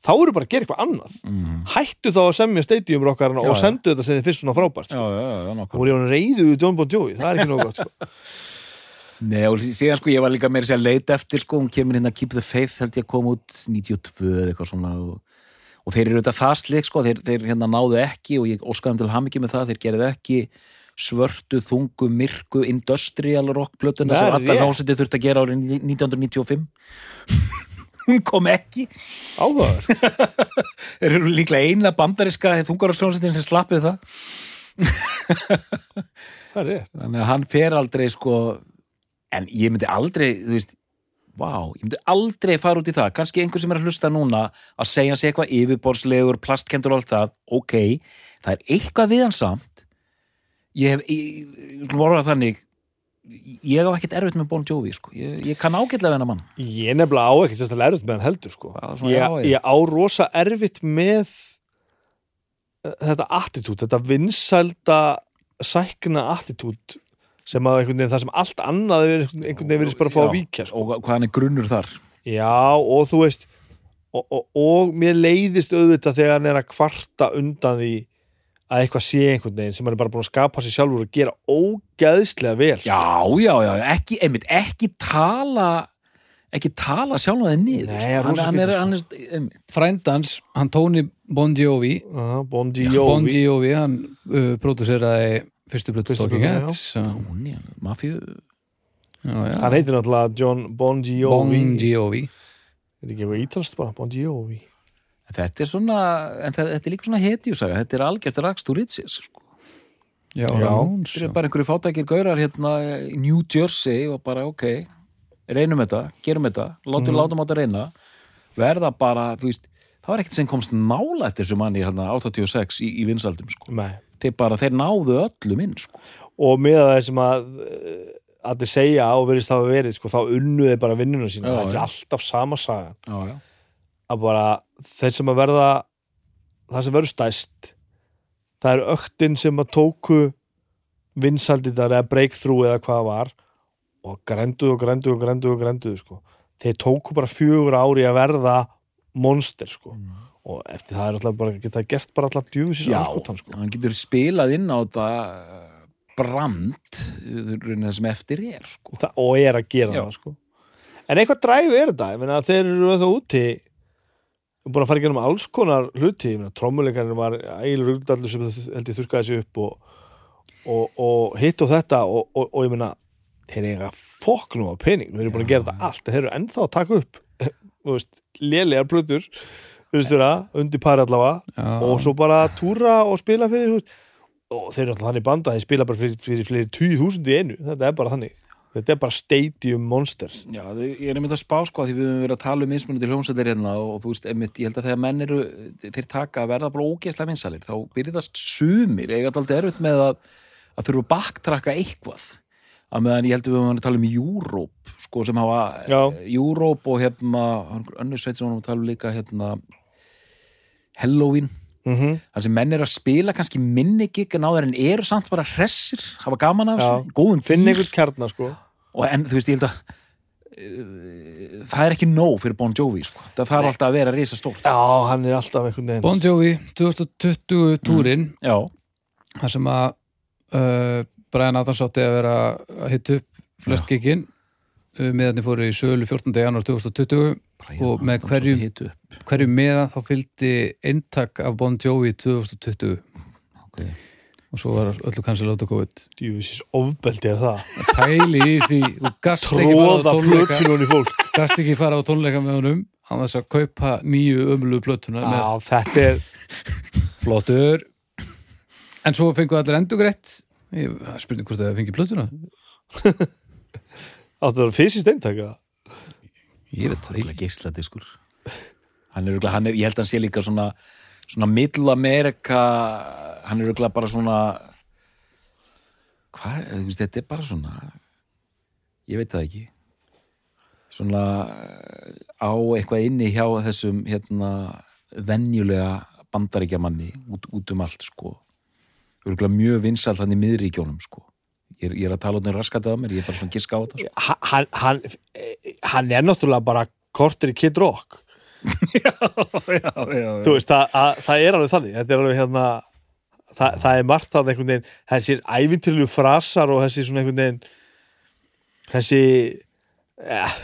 Speaker 2: þá eru bara að gera eitthvað annað
Speaker 3: Mhm.
Speaker 2: hættu þá að semja stadiumur okkar
Speaker 3: Já,
Speaker 2: og
Speaker 3: já.
Speaker 2: sendu þetta sem þið finnst svona frábært
Speaker 3: Já,
Speaker 2: sko.
Speaker 3: já, já, já,
Speaker 2: og
Speaker 3: nokkuð
Speaker 2: ég var reyðu við John Bon Jovi, það er ekki nóg gott sko.
Speaker 3: Nei, og síðan sko, ég var líka meira sér að leita eftir sko, hún kemur hérna Keep the Faith, held ég að koma út 92 eða eitthvað svona og, og þeir eru auðvitað það slik, sko, þeir, þeir hérna náðu ekki og ég óskaði um til hamingi með það, þeir gerðu ekki svörtu, þungu, myrku, industrial rock plötuna
Speaker 2: Nei,
Speaker 3: sem allar
Speaker 2: rétt.
Speaker 3: hljómsveitir þurft að gera árið 1995 hún kom ekki
Speaker 2: áhugavert
Speaker 3: þeir eru líklega eina bandariska þungararsljómsveitin sem slappið það
Speaker 2: það er rétt
Speaker 3: þannig að hann fer aldrei sko en ég myndi aldrei, þú veist vá, ég myndi aldrei fara út í það kannski einhver sem er að hlusta núna að segja sig eitthvað yfirborðslegur, plastkendur og allt það, ok, það er eitthvað við hann samt ég hef, ég, ég voru að þannig ég hef ekkert erfitt með Bon Jovi sko. ég, ég kann ágætlega við hennar mann
Speaker 2: Ég nefnilega á ekki sérstaklega erfitt með hann heldur sko.
Speaker 3: Bara svona,
Speaker 2: ég,
Speaker 3: já, já.
Speaker 2: ég á rosa erfitt með eh, þetta attitút, þetta vinsælda sækna attitút sem að einhvern veginn það sem allt annað er einhvern einhvern veginn verið bara að fá að
Speaker 3: Já.
Speaker 2: víkja sko.
Speaker 3: og hvað hann er grunnur þar
Speaker 2: Já, og þú veist og, og, og mér leiðist auðvitað þegar hann er að kvarta undan því að eitthvað sé einhvern veginn sem hann er bara búin að skapa sér sjálfur og gera ógeðslega vel sko.
Speaker 3: já, já, já, ekki, einmitt, ekki tala ekki tala sjálf að þið niður
Speaker 2: Nei,
Speaker 3: sko. hann,
Speaker 2: rosa
Speaker 3: hann er,
Speaker 2: skrítið, sko.
Speaker 3: hann er, einmitt,
Speaker 1: Frændans, hann Tony Bon Jovi
Speaker 2: Uh, Bon
Speaker 1: Bon
Speaker 2: Jovi
Speaker 1: Jovi, hann uh, pródúseraði fyrstu blötu
Speaker 2: Fyrstu
Speaker 1: Talking
Speaker 2: plötuna, já.
Speaker 1: Heads já,
Speaker 3: hún er mafíu
Speaker 1: já, já.
Speaker 2: hann heitir náttúrulega John Bon Jovi
Speaker 1: Bon Jovi
Speaker 2: Er þetta ekki eitthvað ítalast bara? Bon Jovi.
Speaker 3: Þetta er svona, en það, þetta er líka svona hetjusaga, þetta er algjört rakst úr Ritzis, sko.
Speaker 1: Já,
Speaker 2: Já.
Speaker 1: Ramones,
Speaker 3: Þetta
Speaker 1: já.
Speaker 3: er bara einhverju fátækir gaurar hérna í New Jersey og bara, ok, reynum þetta, gerum þetta, látum, látum þetta reyna, verða bara, þú veist, það var ekkert sem komst nála eftir þessu manni hérna 86 í, í vinsaldum, sko.
Speaker 2: Nei.
Speaker 3: Þeir bara, þeir náðu öllum inn, sko.
Speaker 2: Og með það sem að að þið segja og verðist hafa verið sko, þá unnuði bara vinnuna sína.
Speaker 3: Já,
Speaker 2: Þetta er
Speaker 3: já.
Speaker 2: alltaf sama sagan.
Speaker 3: Já, já.
Speaker 2: Að bara þeir sem að verða það sem verður stæst það er öktin sem að tóku vinsaldindar eða breakthrough eða hvað það var og grenduðu og grenduðu og grenduðu og grenduðu sko. Þeir tóku bara fjögur ári að verða monster sko. Og eftir það er alltaf bara geta gert bara alltaf djúfisins
Speaker 3: Mm. Já.
Speaker 2: anskotan sko.
Speaker 3: Hann getur spilað inn á þetta eh, brand, eh, raunar það sem eftir er, sko.
Speaker 2: það, og er að gera
Speaker 3: Já.
Speaker 2: það sko. en eitthvað dræfi er þetta ég meina, þeir eru það úti og búin að fara í gennum alls konar hluti ég meina, trommuleikarinn var ægilur rugldallur sem þau- held ég þurrkaði sig upp og, og, og hitt og þetta og, og, og ég meina, þeir eiga fokk nú á pening, þeir eru búin að
Speaker 3: Já.
Speaker 2: gera þetta allt en þeir eru ennþá að taka upp þú veist, lélegar plötur virðist vera, undir pari allavega
Speaker 1: Já.
Speaker 2: og svo bara túra og spila fyrir þú veist. og þeir eru alltaf þannig banda þeir spila bara fyrir, fyrir fleiri tíu þúsund í einu þetta er bara þannig, þetta er bara stadium monster
Speaker 3: Já, þau- ég er einmitt að spá sko því við höfum verið að tala um mismunandi hljómsættir hérna og þú veist, einmitt, ég held að þegar menn eru þeir taka að verða bara ógeðslega vinsalir þá byrjast sumir, ég er alltaf erfitt með að, að þurfa að baktraka eitthvað að meðan ég heldur við varum að tala um Júróp sko sem hafa
Speaker 2: Já.
Speaker 3: Júróp og hérna önnur sveit sem varum að tala um líka hérna Halloween
Speaker 2: mm -hmm.
Speaker 3: þar sem menn eru að spila kannski minni gig en áður en eru samt bara hressir hafa gaman af
Speaker 2: Já.
Speaker 3: þessu, góðum
Speaker 2: Finn
Speaker 3: dýr
Speaker 2: einhvern kjarnar sko
Speaker 3: og en þú veist ég held að eh, það er ekki nóg fyrir Bon Jovi sko. það þarf alltaf að vera risa stórt
Speaker 2: Já, hann er alltaf einhvern veginn
Speaker 1: Bon Jovi 2020 túrin
Speaker 3: já,
Speaker 1: þar sem að uh, Brian Adams átti að vera að hitta upp flest giginn uh, meðanir fóru í sölu 14. janúar 2020 Og með
Speaker 3: Adams
Speaker 1: hverjum-
Speaker 3: hitu upp.
Speaker 1: hverju meða þá fylgdi eintak af Bon Jovi 2020
Speaker 3: Ok.
Speaker 1: og svo var öllu kannski láta COVID
Speaker 2: Djúvisins ofbeldi er það
Speaker 1: pæli í því þú gast ekki fara á
Speaker 2: Tróða
Speaker 1: tónleika
Speaker 2: plötunum í fólk
Speaker 1: gast ekki fara á tónleika með honum hann þess að kaupa nýju ömlu plötuna með
Speaker 2: Já, þetta er
Speaker 1: flottur en svo fengu allir endur greitt ég það er spurning hvort það fengi plötuna
Speaker 2: Áttu það fysiskt eintaka
Speaker 1: ég veit það
Speaker 3: Örugglega
Speaker 1: ekki
Speaker 3: geisladiskur. hann er, örugglega- hann er, ég held að hann sé líka svona svona middlamerika hann er örugglega bara svona hvað, þú veist, þetta er bara svona ég veit það ekki svona eh, á eitthvað inni hjá þessum hérna venjulega bandaríkjamanni út, út um allt sko örugglega mjög vinsall hann í miðríkjónum sko ég er, ég er að tala út um raskatið á mér, ég er bara svona að giska á þetta sko.
Speaker 2: Ha- hann, hann, eh, hann er náttúrulega bara kortir í Kid Rock
Speaker 3: já, já, já.
Speaker 2: þú veist, það, að, það er alveg þannig þetta er alveg hérna það, það er margt þannig einhvern veginn þessir ævintilju frasar og þessi svona einhvern veginn þessi eh,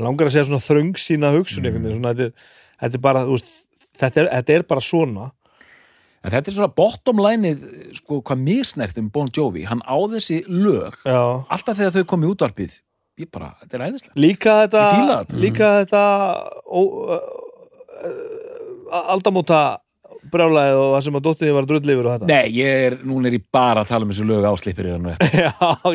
Speaker 2: langar að segja svona þröng sína hugsun einhvern
Speaker 3: Mm.
Speaker 2: veginn, svona þetta er, þetta er bara þú veist, þetta, er, þetta er bara svona
Speaker 3: En þetta er svona bottom lineið, sko, hvað misnert um Bon Jovi. Hann á þessi lög,
Speaker 2: já.
Speaker 3: alltaf þegar þau kom í útvarpið, ég bara, þetta er æðislega.
Speaker 2: líka
Speaker 3: Ég fíla
Speaker 2: þetta Mm.
Speaker 3: þetta.
Speaker 2: líka þetta ó, ö, ö, aldamóta brjálæðið og það sem að dóttiði var drullifur og þetta
Speaker 3: Nei, ég er, núna er ég bara að tala um þessi lög áslipir í hann veitt.
Speaker 2: já,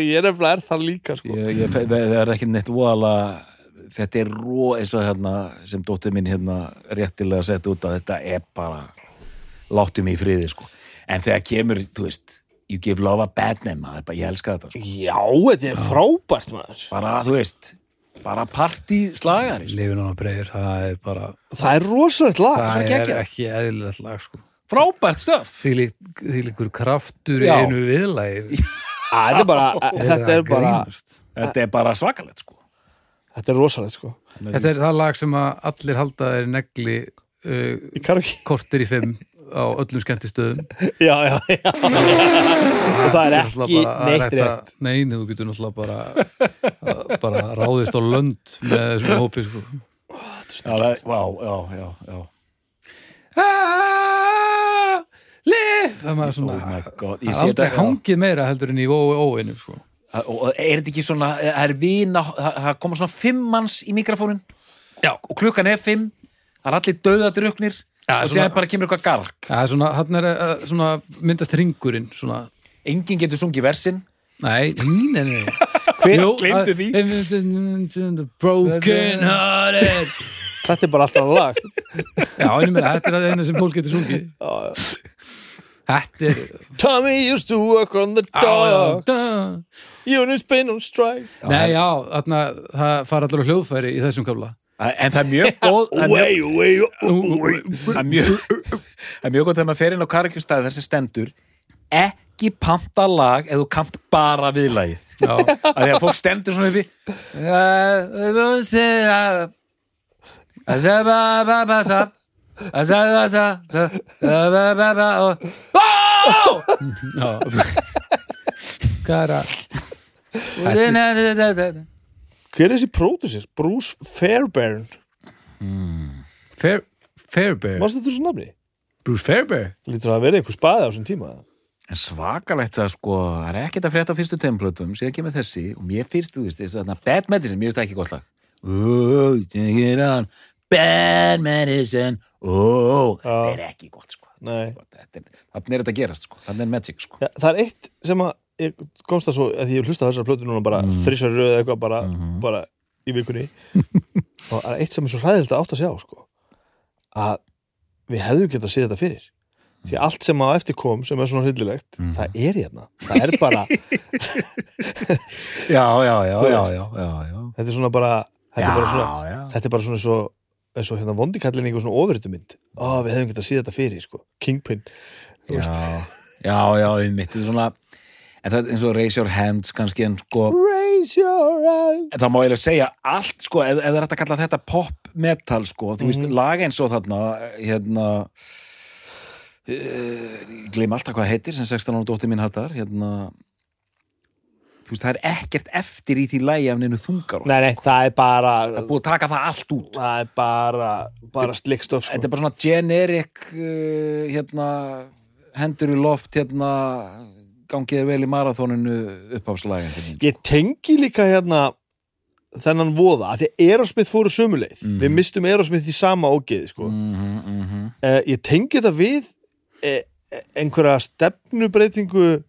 Speaker 2: ég er nefnilega er það líka sko.
Speaker 3: Ég, ég, það það er ekki neitt voðalega, þetta er ró, eins og hérna, sem dóttir mín hérna réttilega sett út að þetta er bara, láttu mig í friði, sko. En þegar kemur, þú veist, you give love a bad name, maður, bara- ég elska þetta, sko.
Speaker 2: Já, þetta er frábært maður
Speaker 3: Bara, þú veist, bara partí slagari, sko.
Speaker 1: lifin hann að breyður það er bara
Speaker 2: Það er rosalegt lag
Speaker 3: það
Speaker 1: það er
Speaker 3: geggjað.
Speaker 1: ekki eðlilegt lag sko
Speaker 3: Frábært stöf.
Speaker 1: því lík- því líkur kraftur í
Speaker 3: Já.
Speaker 1: einu viðlægi
Speaker 2: Æ, Þetta er bara, þetta er bara
Speaker 3: Þetta er bara svakalegt, sko.
Speaker 2: Þetta er rosalegt sko
Speaker 1: Þetta er það lag sem að allir halda er negli uh,
Speaker 2: Í karaoke
Speaker 1: kortir í fimm á öllum skemmtistöðum
Speaker 2: Já, já, já Og það er ekki neitt rétt
Speaker 1: Neini, þú getur náttúrulega bara, að- bara ráðist á lönd með þessum hópi sko.
Speaker 3: Já, það, vá, já, já, já.
Speaker 1: Ah, Live Það er maður svona
Speaker 3: Oh my God, ég
Speaker 1: Það er
Speaker 3: sé
Speaker 1: aldrei
Speaker 3: þetta, já.
Speaker 1: hangið meira heldur en í óinu sko.
Speaker 3: Og og er þetta ekki svona, það er vina, það það koma svona fimm manns í mikrofónin Já. og klukkan er fimm, það er allir döðadruknir
Speaker 1: Já,
Speaker 3: og
Speaker 1: svona-
Speaker 3: séðan bara kemur eitthvað garg.
Speaker 1: Það er svona, hann er uh, svona myndast ringurinn svona
Speaker 3: Enginn getur sungið versin.
Speaker 1: Nei, nei, nei, nei. eh,
Speaker 2: Hver-
Speaker 3: gleymdu
Speaker 1: að-
Speaker 3: því.
Speaker 1: eh, Broken hearted
Speaker 2: Þetta er bara alltaf lag
Speaker 1: Já, ég meina, þetta er það eina sem fólk getur sungið Þetta er
Speaker 2: Tommy used to work on the dog
Speaker 1: Dog.
Speaker 2: Unit's been on strike
Speaker 1: Nei, já, þarna það fara allar á hljóðfæri í þessum kafla
Speaker 3: En það er mjög góð, það er mjög,
Speaker 2: Way, way
Speaker 3: það er mjög, það er mjög góð þegar maður fer inn á karkjústæði þessi stendur, ekki panta lag eða þú kant bara viðlagið.
Speaker 1: Já,
Speaker 3: að því að fólk stendur svona yfir Það er sér að Það sér bara bara bara sá Það sér bara sá Það sér bara bara bara og- Ó!
Speaker 1: já Hvað er að
Speaker 3: Og þinn er þetta- þetta-
Speaker 2: Hver er þessi pródusir? Bruce Fairbairn
Speaker 1: Fair, Fairbear,
Speaker 2: Mástu þetta svona nafni?
Speaker 1: Bruce Fairbear
Speaker 2: Lítur það að vera einhver spaði á þessum tíma
Speaker 3: En svakalegt að sko það er ekkert að frétta á fyrstu teimplötum síðan kemur þessi og mér finnst þú veist þess að Bad Medicine, mér finnst það ekki gott lag Ó, take it on Bad Medicine Ó, þetta er ekki gott sko
Speaker 2: Nei
Speaker 3: Þetta er- Þarna er þetta að gerast sko, þarna er magic sko
Speaker 2: Já, það er eitt sem að ég komst að svo, að ég hlusta þessar plötu núna bara mm. þrísar röð eða eitthvað bara,
Speaker 3: Mm. Mhm.
Speaker 2: bara í vikunni og það er eitt sem er svo hræðilt að átt að sjá sko, að við hefðum getað séð þetta fyrir því allt sem á eftir kom sem er svona hryllilegt,
Speaker 3: Mhm.
Speaker 2: það er hérna það er bara,
Speaker 3: já, já, já,
Speaker 2: Þú
Speaker 3: já,
Speaker 2: veist.
Speaker 3: já, já, já.
Speaker 2: þetta er svona bara þetta er bara svona,
Speaker 3: já, já.
Speaker 2: þetta er bara svona svo, eins og hérna vondikallin einhver svona ofritumynd ó, við hefum getað síð þetta fyrir, sko Kingpin, þú veist
Speaker 3: já, já, já, einmitt þetta er svona en það er eins og raise your hands kannski en sko
Speaker 2: Raise your hand
Speaker 3: en það má eiginlega segja allt sko ef, ef það er hægt að kalla þetta pop metal sko þú veist,
Speaker 2: Mhm.
Speaker 3: lag eins og þarna hérna uh, gleym alltaf hvað það heitir sem 16 ára dóttir mín hattar hérna þú veist, það er ekkert eftir í því lægi af neinu þungar
Speaker 2: Nei, nei, það er bara
Speaker 3: það er búið að taka það allt út
Speaker 2: það er bara, bara slikkstof sko.
Speaker 3: þetta er bara svona generic uh, hérna hendur í loft hérna gangið er vel í marathóninu uppáfslægin hérna.
Speaker 2: Ég tengi líka hérna þennan voða, af því að Erosmith fóru sömuleið,
Speaker 3: Mhm.
Speaker 2: við mistum Erosmith í sama ógeði sko, mm.
Speaker 3: mm -hmm, mm -hmm.
Speaker 2: Eh, ég tengi það við eh, eh, einhverja stefnubreitingu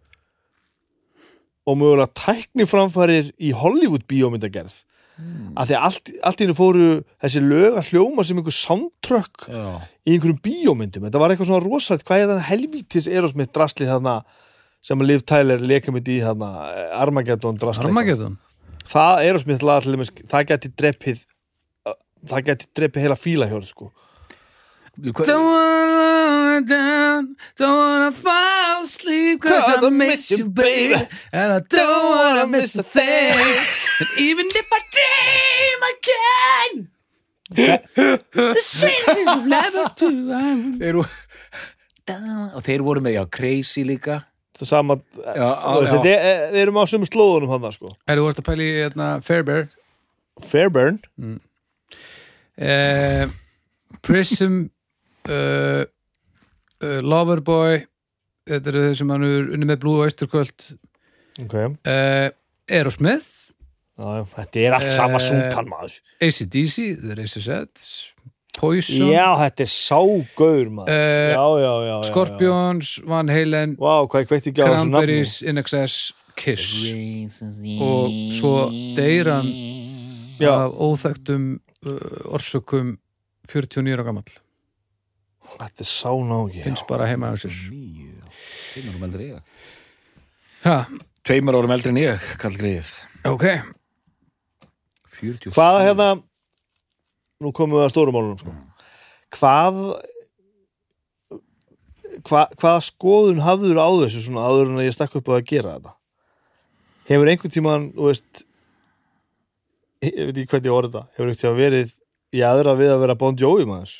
Speaker 2: og mögulega tækniframfærir í Hollywood bíómyndagerð af því að allt, allt í henni fóru þessi lög að hljóma sem einhver soundtrack
Speaker 3: já
Speaker 2: í einhverjum bíómyndum, þetta var eitthvað svona rosalegt hvað er þannig helvítis Erosmith drasli þarna sem að Liv Tyler leka mitt í þarna eh, Armageddon drasli
Speaker 1: Armageddon
Speaker 2: það er á smittlað til dæmis, það geti dreppið það geti dreppið heila fílahjörð sko.
Speaker 3: Hva,
Speaker 1: Don't wanna love me down Don't wanna fall asleep Cause I don't miss you baby And I don't wanna miss a thing And even if I dream again The strings of love to I'm
Speaker 3: þeir, voru- og þeir voru með já, crazy líka
Speaker 2: það sama
Speaker 3: já, á,
Speaker 2: þú veist,
Speaker 3: já,
Speaker 2: þetta er- eh, við erum á sömu slóðunum hann sko.
Speaker 1: Er þú vorst að pæli hérna, Fairbear
Speaker 2: Fairburn
Speaker 1: eh, Prism uh, uh, Loverboy Þetta eru þeir sem hann er unni með Blue Oysterkvöld
Speaker 2: okay.
Speaker 1: uh, Aerosmith
Speaker 2: já, já, þetta er allt sama
Speaker 1: Eh,
Speaker 2: súpan maður
Speaker 1: ACDC, The Razor's Edge Poison,
Speaker 2: já, þetta er ságauður maður
Speaker 1: Eh,
Speaker 2: já, já, já, já, já.
Speaker 1: Scorpions Van Halen,
Speaker 2: Vá, hvað ég kveikt ekki á þessu nafni
Speaker 1: Cranberries In Excess, Kiss og svo deyr hann
Speaker 2: Já.
Speaker 1: af óþægtum uh, orsökum 49 ára gamall
Speaker 2: Þetta er sánági já.
Speaker 1: finnst bara heima á sér
Speaker 3: Níu, tveimur árum eldri en ég.
Speaker 1: ha,
Speaker 3: tveimur árum eldri en ég kall greið
Speaker 1: ok,
Speaker 3: 47.
Speaker 2: Hvað hérna Nú komum við að stórumálunum sko. Hvað hva, Hvaða skoðun hafður á þessu svona áður en að ég stakk upp á að gera þetta Hefur einhvern tímann þú veist ég ég veit ekki hvernig ég orði þetta Hefur einhvern tímann verið í aðra við að vera Bon Jovi maður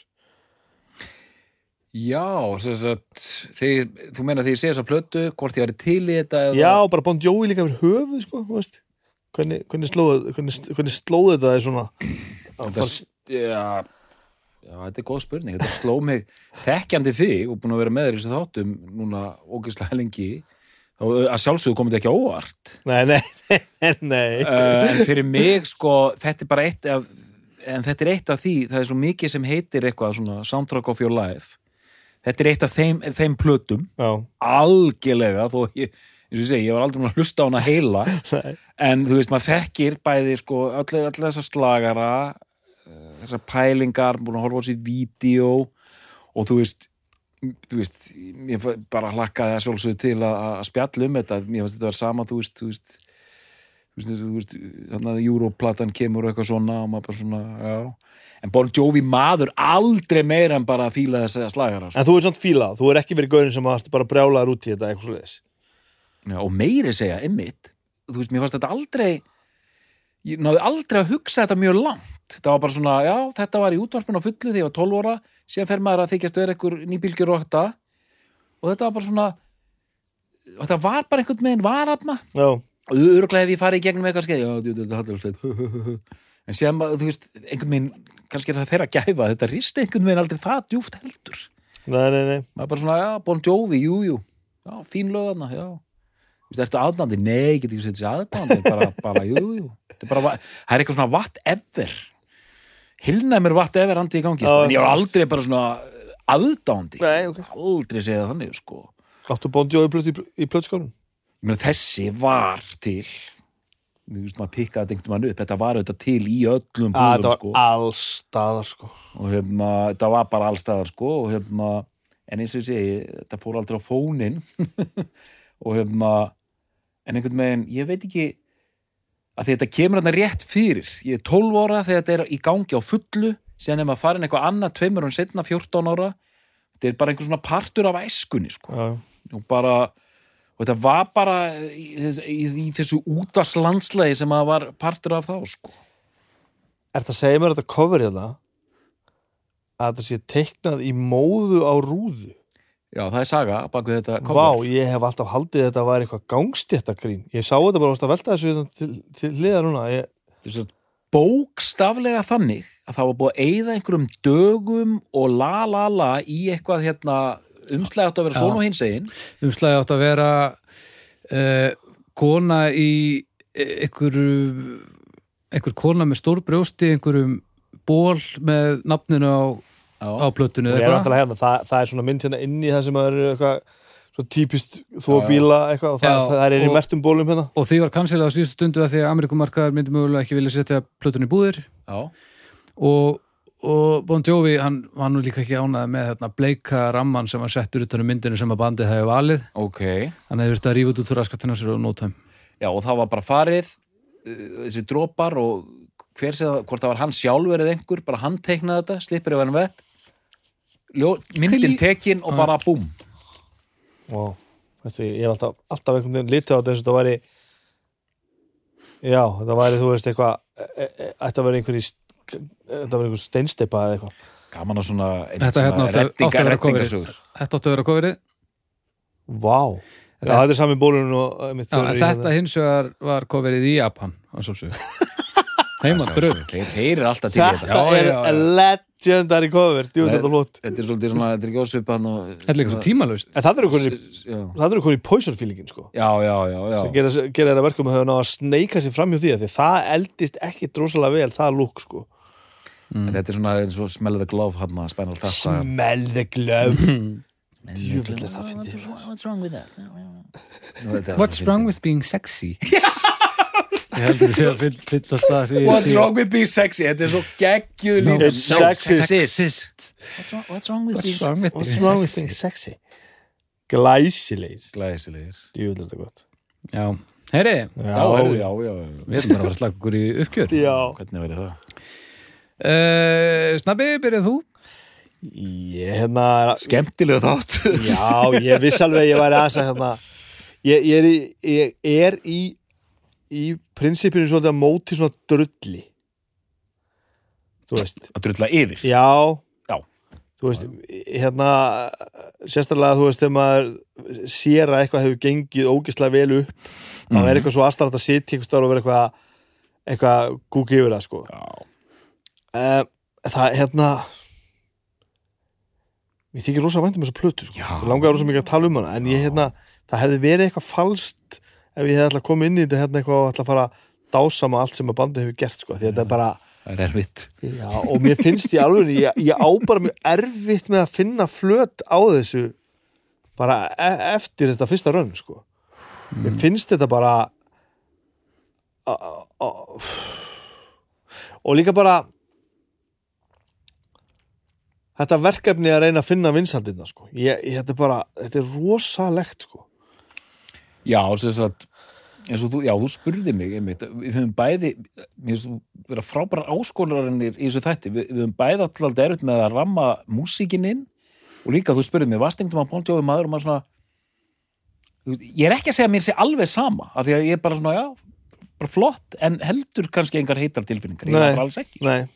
Speaker 3: já, sem sagt þeir, þú meina þegar ég sé þess að plötu hvort ég væri til í þetta eða-
Speaker 2: Já, bara Bon Jovi líka fyrir höfuð sko, þú veist Hvernig, hvernig, slóð, hvernig, hvernig slóð þetta er svona
Speaker 3: þetta, s- já, já, þetta er góð spurning þetta sló mig þekkjandi þig og búin að vera með þér í þessu þáttum núna ógeðslega lengi þá að sjálfsögðu komið þetta ekki á óvart
Speaker 2: Nei, nei, nei, nei.
Speaker 3: uh, en fyrir mig sko þetta er bara eitt af en þetta er eitt af því, það er svo mikið sem heitir eitthvað svona Soundtrack of Your Life þetta er eitt af þeim, þeim plötum
Speaker 2: Já,
Speaker 3: algjörlega þó ég, eins og ég segi, ég var aldrei búin að hlusta á hana heila
Speaker 2: nei,
Speaker 3: en þú veist, maður þekkir bæði sko öll, öll þessar slagara eh, þessar pælingar, búin að horfa á sér vídeo og þú veist þú veist, ég fa- bara hlakkaði að sjálfsögðu til að, að spjalla um þetta mér finnst þetta var sama, þú veist, þú veist þú veist, þú veist, þannig að Europlatan kemur og eitthvað svona og maður bara svona, já en Bon Jovi maður aldrei meira en bara að fíla þess slagara sko.
Speaker 2: En þú ert samt fílað, þú er ekki verið gaurin sem að bara brjálaður út í þetta eitthvað svo
Speaker 3: Já, og meiri segja, einmitt þú veist, mér fannst þetta aldrei ég náði aldrei að hugsa þetta mjög langt þetta var bara svona, já, þetta var í útvarpinu á fullu þegar ég var 12 óra, síðan fer maður að þykjast vera einhver nýbylgjur og þetta og þetta var bara svona og þetta var bara einhvern veginn varatna
Speaker 2: Já,
Speaker 3: og öruglega hef ég farið í gegnum eitthvað skeið já, þetta er alltaf en síðan, maður, þú veist, einhvern veginn kannski er það þeirra gæfa, þetta risti einhvern veginn aldrei það djúft heldur
Speaker 2: nei, nei, nei
Speaker 3: maður bara svona, já, Bon Jovi, jú, jú já, fín lögana, já Þú veist, ertu aðnandi? Nei, ég get ekki sett sér aðnandi bara, bara, jú, jú það er, bara, va- það er eitthvað svona vatt ever hilnaði mér vatt ever andi í gangi sko.
Speaker 2: Já,
Speaker 3: en ég var aldrei bara svona aðdándi
Speaker 2: Nei, ok
Speaker 3: aldrei segja það þannig, sko
Speaker 2: Áttu bóndi og í, í plötskónum?
Speaker 3: ég meina, þessi var til þú veist, maður pikkaði dengt mann upp þetta var auðvitað til í öllum
Speaker 2: Að Ah, þetta
Speaker 3: búðum,
Speaker 2: var
Speaker 3: sko
Speaker 2: alls staðar, sko
Speaker 3: og hérna, þetta var bara allstæðar sko og hérna, en eins og ég segi, þetta fór aldrei á fónin og hefum að en einhvern veginn, ég veit ekki að þetta kemur hann rétt fyrir ég er 12 ára þegar þetta er í gangi á fullu síðan er maður farin eitthvað annað tveimur en setna 14 ára þetta er bara einhver svona partur af æskunni sko
Speaker 2: já,
Speaker 3: og bara og þetta var bara í, þess- í, í þessu útaslandslægi sem að var partur af þá sko
Speaker 2: Er það að segja mér að þetta cover ég það að þetta sé teiknað í móðu á rúðu
Speaker 3: já það er saga bak við þetta cover.
Speaker 2: Vá, ég hef alltaf haldið þetta var eitthvað gangstéttagrín Ég sá þetta bara varst að velta þessu hérna til, til liða núna ég,
Speaker 3: Þetta er svo bókstaflega þannig að það var búið að eyða einhverjum dögum og la la la í eitthvað hérna umslæði átt að vera
Speaker 1: Já.
Speaker 3: svona og hins einn
Speaker 1: umslæði átt að vera uh, kona í einhverju einhver kona með stór brjósti einhverjum ból með nafninu á, á
Speaker 3: já,
Speaker 1: plötunni eða
Speaker 2: ég er
Speaker 1: eitthvað.
Speaker 2: náttúrulega hérna, það, það er svona mynd hérna inn í það sem er eitthvað svo típist þvó bíla eitthvað og það,
Speaker 1: Já,
Speaker 2: það er í
Speaker 1: og-
Speaker 2: mertum bólum hérna
Speaker 1: og því var kansilega á síðustu stundu að því að Amerikumarkaðar myndi mögulega ekki vilja setja plötunni í búðir
Speaker 3: já,
Speaker 1: og, og Bon Jovi hann var nú líka ekki ánað með þarna bleika ramman sem hann settur utan um myndinu sem að bandið hefði valið,
Speaker 3: ok
Speaker 1: hann hefði þurft að rífa út út úr raskatina sér og nótæm
Speaker 3: já og það var bara farið uh, þessi dropar og hver sem það, hvort það var hann sjálfur eða einhver, bara hann teiknaði þetta slipper ef hann vett Ljó, myndin
Speaker 1: Hvernig-
Speaker 3: tekin og bara búm
Speaker 2: Vá, veistu, ég hef alltaf, alltaf einhvern veginn litið á þetta eins og þetta væri Já, þetta væri, þú veist, eitthvað e- e- e- Þetta væri einhverjir st- Þetta væri einhver steinsteipa eða eitthvað
Speaker 3: gaman að svona,
Speaker 1: Þetta hérna átti- átti að vera coverið.
Speaker 3: rettingasögur
Speaker 1: Þetta átti að vera kofrið
Speaker 2: Vá, já, þetta er sami bólun og eh, mitt
Speaker 1: Já,
Speaker 2: þau
Speaker 1: en
Speaker 2: eru í
Speaker 1: þetta
Speaker 2: hérna.
Speaker 1: hins vegar var coverið í Japan að sjálfsög heima bröð
Speaker 3: þeir, þeir eru alltaf til í þetta
Speaker 2: Þetta
Speaker 1: Já,
Speaker 2: er
Speaker 1: já, já.
Speaker 2: legendary cover Jú,
Speaker 3: Nei.
Speaker 2: þetta er flott
Speaker 3: þetta er svolítið svona, þetta er ekki ósvipað og,
Speaker 1: Þetta er líka svo tímalust
Speaker 2: En það eru konir,
Speaker 3: já,
Speaker 2: það eru konir poison feelingin sko
Speaker 3: já, já, já,
Speaker 2: sem
Speaker 3: já.
Speaker 2: gera, gera þeirra verkum að hafa náða að sneika sér fram hjá því af því það eldist ekki drosalega vel það lúk sko
Speaker 3: En þetta er svona eins og smell of the glove hann að spænal tassa
Speaker 2: Smell the glove Djöfull er það fyndið.
Speaker 3: what's wrong with that Nú, þetta er-
Speaker 1: What's wrong with being sexy? ég heldur þið sé að fylla stað sem
Speaker 3: What's wrong with being sexy þetta er svo geggjuð lína
Speaker 2: It's sexist.
Speaker 1: sexist
Speaker 3: What's wrong- what's wrong with
Speaker 1: What's
Speaker 3: being
Speaker 1: wrong with
Speaker 2: What's
Speaker 1: being
Speaker 2: wrong with
Speaker 1: sexy?
Speaker 2: being sexy? Glæsilegir
Speaker 3: glæsilegir
Speaker 2: Djúvill er þetta gott
Speaker 1: Já, heyri,
Speaker 3: já, heyrðu, já, já, já,
Speaker 1: við erum bara að fara að slaka okkur í uppgjör
Speaker 2: Já
Speaker 3: hvernig verið það
Speaker 1: uh, Snabbi, byrjað þú?
Speaker 2: Ég hérna
Speaker 3: skemmtilega þátt
Speaker 2: Já, ég viss alveg að ég væri aðeins að hérna ég, ég er í, ég er í í prinsipinu svolítið að móti svona drulli þú veist
Speaker 3: að drulla yfir
Speaker 2: já,
Speaker 3: Já.
Speaker 2: þú veist, hérna sérstaklega þú veist, þegar maður sér að eitthvað hefur gengið ógislega vel upp þá
Speaker 3: Mhm.
Speaker 2: er eitthvað svo aðstæðan að sitja einhvers staðar og vera eitthvað eitthvað gúki yfir það sko
Speaker 3: Já.
Speaker 2: uh, það, hérna mér þykir rosa vænt um þessa plötu sko.
Speaker 3: Já.
Speaker 2: Mig langaði rosa mikið að tala um hana en ég, hérna, það hefði verið eitthvað falskt ef ég hefði alltaf komið inn í þetta hérna eitthvað og alltaf að fara að dásama allt sem að bandi hefur gert sko. því að þetta er bara
Speaker 3: það er erfitt
Speaker 2: já, og mér finnst í alveg ég, ég á bara mjög erfitt með að finna flöt á þessu bara e eftir þetta fyrsta raun sko. mér finnst þetta bara a- a- a- og líka bara þetta verkefni að reyna að finna vinsaldirna sko. ég, ég, þetta er bara, þetta er rosalegt sko.
Speaker 3: Já, sem sagt eins og þú, já, þú spurði mig einmitt, við höfum bæði mér finnst þú vera frábærar áskólarannir í þessu þætti, við, við höfum bæði alltaf erut með að ramma músíkinn inn og líka þú spurði mig, vastingdum að Bon Jovi maður og maður svona þú veist, ég er ekki að segja að mér sé alveg sama af því að ég er bara svona, já, bara flott en heldur kannski engar heitar tilfinningar ég
Speaker 2: Nei.
Speaker 3: er bara alls ekki,
Speaker 2: Nei.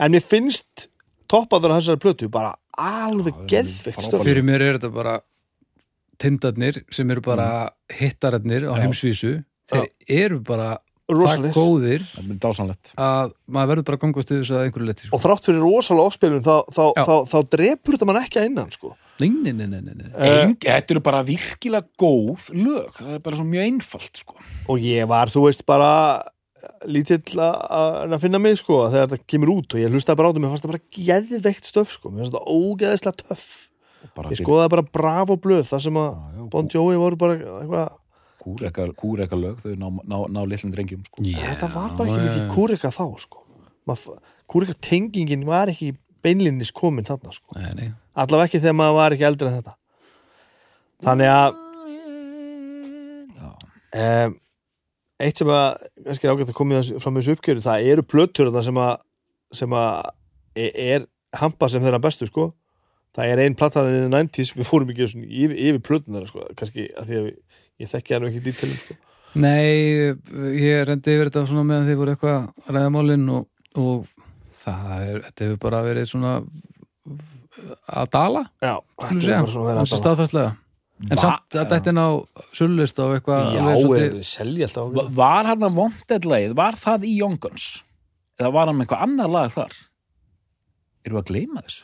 Speaker 2: en mér finnst toppaður að þessari plötu bara alveg geðvikt stöf
Speaker 1: Fyrir mér er þetta bara tindarnir sem eru bara hittararnir á
Speaker 3: Já.
Speaker 1: heimsvísu þeir eru bara það
Speaker 2: rosalegt
Speaker 1: góðir
Speaker 3: það er dásanlegt
Speaker 1: að maður verður bara að gangast yfir þessu að einhverju leti sko.
Speaker 2: og þrátt fyrir rosalega ofspilun þá, þá,
Speaker 1: Já.
Speaker 2: þá, þá drepur þetta mann ekki að innan sko.
Speaker 1: Nei, nei, nei, nei, nei, nei.
Speaker 2: uh,
Speaker 3: Eng, Þetta eru bara virkilega góð lög, það er bara svona mjög einfalt sko.
Speaker 2: og ég var, þú veist, bara lítill að- að reyna að finna mig sko, þegar þetta kemur út og ég hlustaði bara á þetta mér fannst það bara geðveikt stöf sko. mér fannst þetta ógeðislega töff
Speaker 3: Og bara
Speaker 2: ég
Speaker 3: fyrir-
Speaker 2: skoðaði bara braf og blöð þar sem að
Speaker 3: Já, já,
Speaker 2: Bon Jovi voru bara eitthvað
Speaker 3: kúreka, kúreka lög þau ná, ná, ná litlum drengjum sko.
Speaker 1: Já,
Speaker 2: þetta var bara ekki
Speaker 1: já,
Speaker 2: mikið
Speaker 1: já.
Speaker 2: kúrika þá sko. kúrika tengingin var ekki beinlinnis komin þarna sko.
Speaker 3: Nei, nei.
Speaker 2: allavega ekki þegar maður var ekki eldri en þetta þannig að
Speaker 3: Já.
Speaker 2: um, eitt sem að kannski er ágætt að koma í þessu- fram í þessu uppgjöru það eru plötur þarna sem að sem að e- er hampa sem þeirra bestu sko það er ein platan í 90s, við fórum ekki svona yfir, yfir plötun þeirra sko, kannski að því að við, ég þekki hann ekki dítilum sko
Speaker 1: Nei, ég reyndi yfir þetta svona meðan þið voru eitthvað að ræða málinn og, og það er, þetta hefur bara verið svona að dala,
Speaker 2: já,
Speaker 1: skulum
Speaker 2: þetta er
Speaker 1: segja,
Speaker 2: bara svona að vera
Speaker 1: þessi
Speaker 2: að
Speaker 1: staðfærslega. En
Speaker 3: Va-
Speaker 1: samt, þetta er ná sölulist á eitthvað
Speaker 2: já,
Speaker 1: alveg
Speaker 2: eða
Speaker 1: svolítið-
Speaker 2: þeir selja alltaf
Speaker 3: Va-
Speaker 2: ágætlega.
Speaker 3: Var hann að Wanted lagið, var það í Young Guns? Eða var hann með eitthvað annar lag þar? Erum við að gleyma þessu?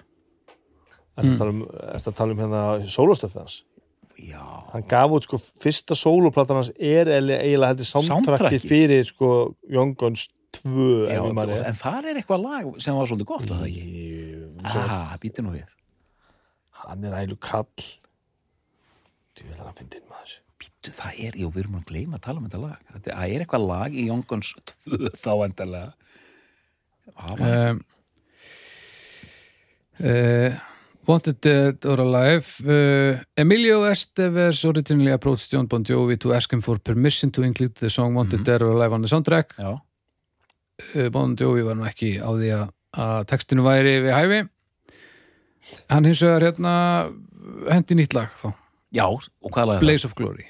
Speaker 2: ertu
Speaker 3: Mm.
Speaker 2: að tala um, ertu að tala um hérna sólostöð hans
Speaker 3: Já,
Speaker 2: hann gaf út sko fyrsta sóloplatan hans er eiginlega eiginlega heldur samtrakki
Speaker 3: Soundtrackið?
Speaker 2: fyrir sko Young Guns 2
Speaker 3: já
Speaker 2: ef ég man rétt.
Speaker 3: en þar er eitthvað lag sem var svolítið gott að það ekki.
Speaker 2: Ég- sem-
Speaker 3: Aha, býti nú við.
Speaker 2: hann er ælu kall þú vil hann fyndin maður
Speaker 3: Býtu, það er, jú, við erum að gleyma að tala um þetta lag. Þetta- Það er eitthvað lag í Young Guns 2 þá endalega. Það
Speaker 2: Eh.
Speaker 3: var-
Speaker 1: um, uh, Wanted Dead or Alive uh, Emilio Estevez originally approached John Bon Jovi to ask him for permission to include the song Wanted
Speaker 3: Mhm.
Speaker 1: Dead or Alive on the soundtrack
Speaker 3: Já,
Speaker 1: uh, Bon Jovi var nú ekki á því að, að textinu væri við hæfi hann hins vegar hérna hendi nýtt lag þá,
Speaker 3: já, og hvað lag er það?
Speaker 1: Blaze of Glory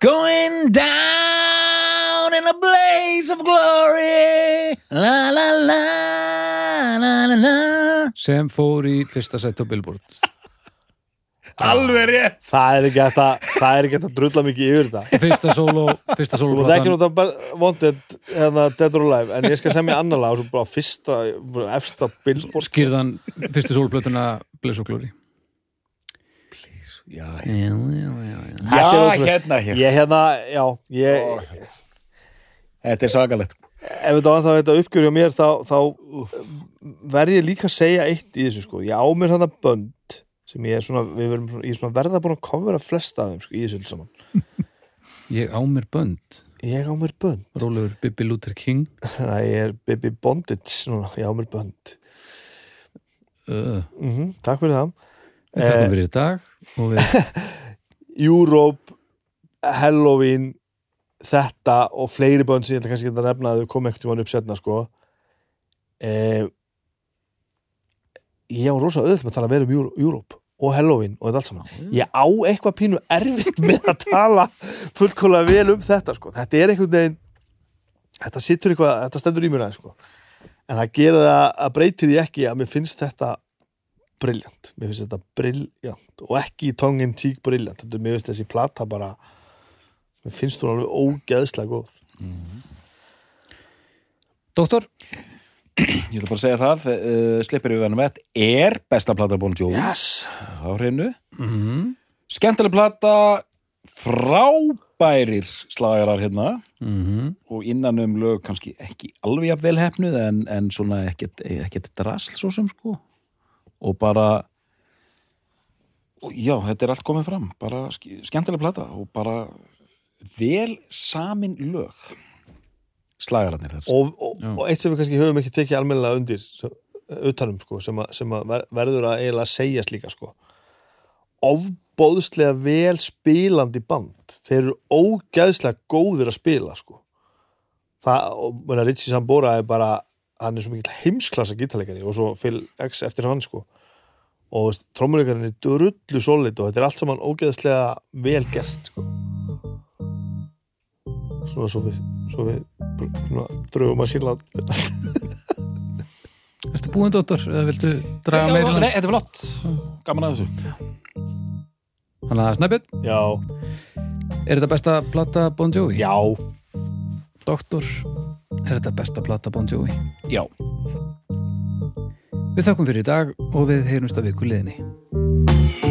Speaker 3: Going down in a blaze of glory La la la la la la
Speaker 1: sem fór í fyrsta set á Billboard
Speaker 3: Alveg rétt
Speaker 2: það er ekki hægt að það er ekki hægt að drulla mikið yfir þetta
Speaker 1: fyrsta solo fyrsta
Speaker 2: þú
Speaker 1: solo
Speaker 2: mútt ekki nota Bad- Wanted eða Dead or Alive en ég skal semja annar lag og svo bara fyrsta efsta billboard
Speaker 1: skýrðan fyrstu soloplötuna Blaze of Glory
Speaker 3: Já,
Speaker 1: já, já, já, já
Speaker 2: Þetta er ótrúlegt.
Speaker 3: hérna hér
Speaker 2: ég hérna, já ég,
Speaker 3: Þetta er sagalegt
Speaker 2: ef þetta var það þetta uppgjör hjá mér þá, þá verð ég líka að segja eitt í þessu sko, ég á mér þarna bönd sem ég er svona, við verum svona, ég er svona verða búin að kofra flesta af þeim sko, í þessu öllu saman
Speaker 1: Ég á mér bönd,
Speaker 2: ég á mér bönd,
Speaker 1: Rólefur Bibi Luther King
Speaker 2: þannig að ég er baby bondage núna, ég á mér bönd
Speaker 1: uh,
Speaker 2: mm takk fyrir það
Speaker 1: Við
Speaker 2: Eh.
Speaker 1: þakkum fyrir í dag og við,
Speaker 2: Europe, Halloween þetta og fleiri bönd sem ég ætla kannski ekki að nefna að þau kom ekkert í mann upp setna sko eh, ég á rosa auðvitað með að tala verið um Euro- Europe og Halloween og þetta allt saman ég á eitthvað pínu erfitt með að tala fullkólega vel um þetta sko þetta er einhvern veginn þetta situr eitthvað, þetta stendur í mér aðeins sko en það gera það að breytir því ekki að mér finnst þetta briljant, mér finnst þetta briljant og ekki í tongue in cheek briljant þetta mér finnst þessi plata bara mér finnst hún alveg ógeðslega góð
Speaker 1: Doktor,
Speaker 3: Ég ætla bara að segja það uh, Slippir við hann vett er besta plata Bon Jovi
Speaker 2: yes,
Speaker 3: Á hreinu
Speaker 1: mm -hmm.
Speaker 3: Skemmtileg plata Frábærir slagarar hérna
Speaker 1: mhm.
Speaker 3: og innan um lög kannski ekki alveg jafn vel hefnuð en, en svona ekkert, ekkert drasl svo sem sko og bara og já, þetta er allt komið fram bara ske- skemmtileg plata og bara vel samin lög slagararnir þar
Speaker 2: og, og,
Speaker 1: Já.
Speaker 2: og eitt sem við kannski höfum ekki tekið almennilega undir sem- utanum sko, sem, að, sem að ver, verður að eiginlega segjast líka sko ofbóðslega vel spilandi band þeir eru ógeðslega góðir að spila sko það, og muna, Ritchie Sambora er bara hann er svo mikill heimsklassa gítarleikari og svo Phil X eftir hann sko og trómuleikarinn er drullu solid og þetta er allt saman ógeðslega vel gert sko svona svo við, svo við svona, drögum að síla
Speaker 1: ertu búinn Doktor? Eða viltu draga
Speaker 3: Já,
Speaker 1: meira
Speaker 3: nei,
Speaker 1: land?
Speaker 3: þetta er flott, gaman að þessu
Speaker 1: Þannig að Snæbjörn,
Speaker 2: já,
Speaker 1: er þetta besta plata Bon Jovi?
Speaker 2: já,
Speaker 1: Doktor, er þetta besta plata Bon Jovi?
Speaker 3: já
Speaker 1: Við þakkum fyrir í dag og við heyrumst að viku liðinni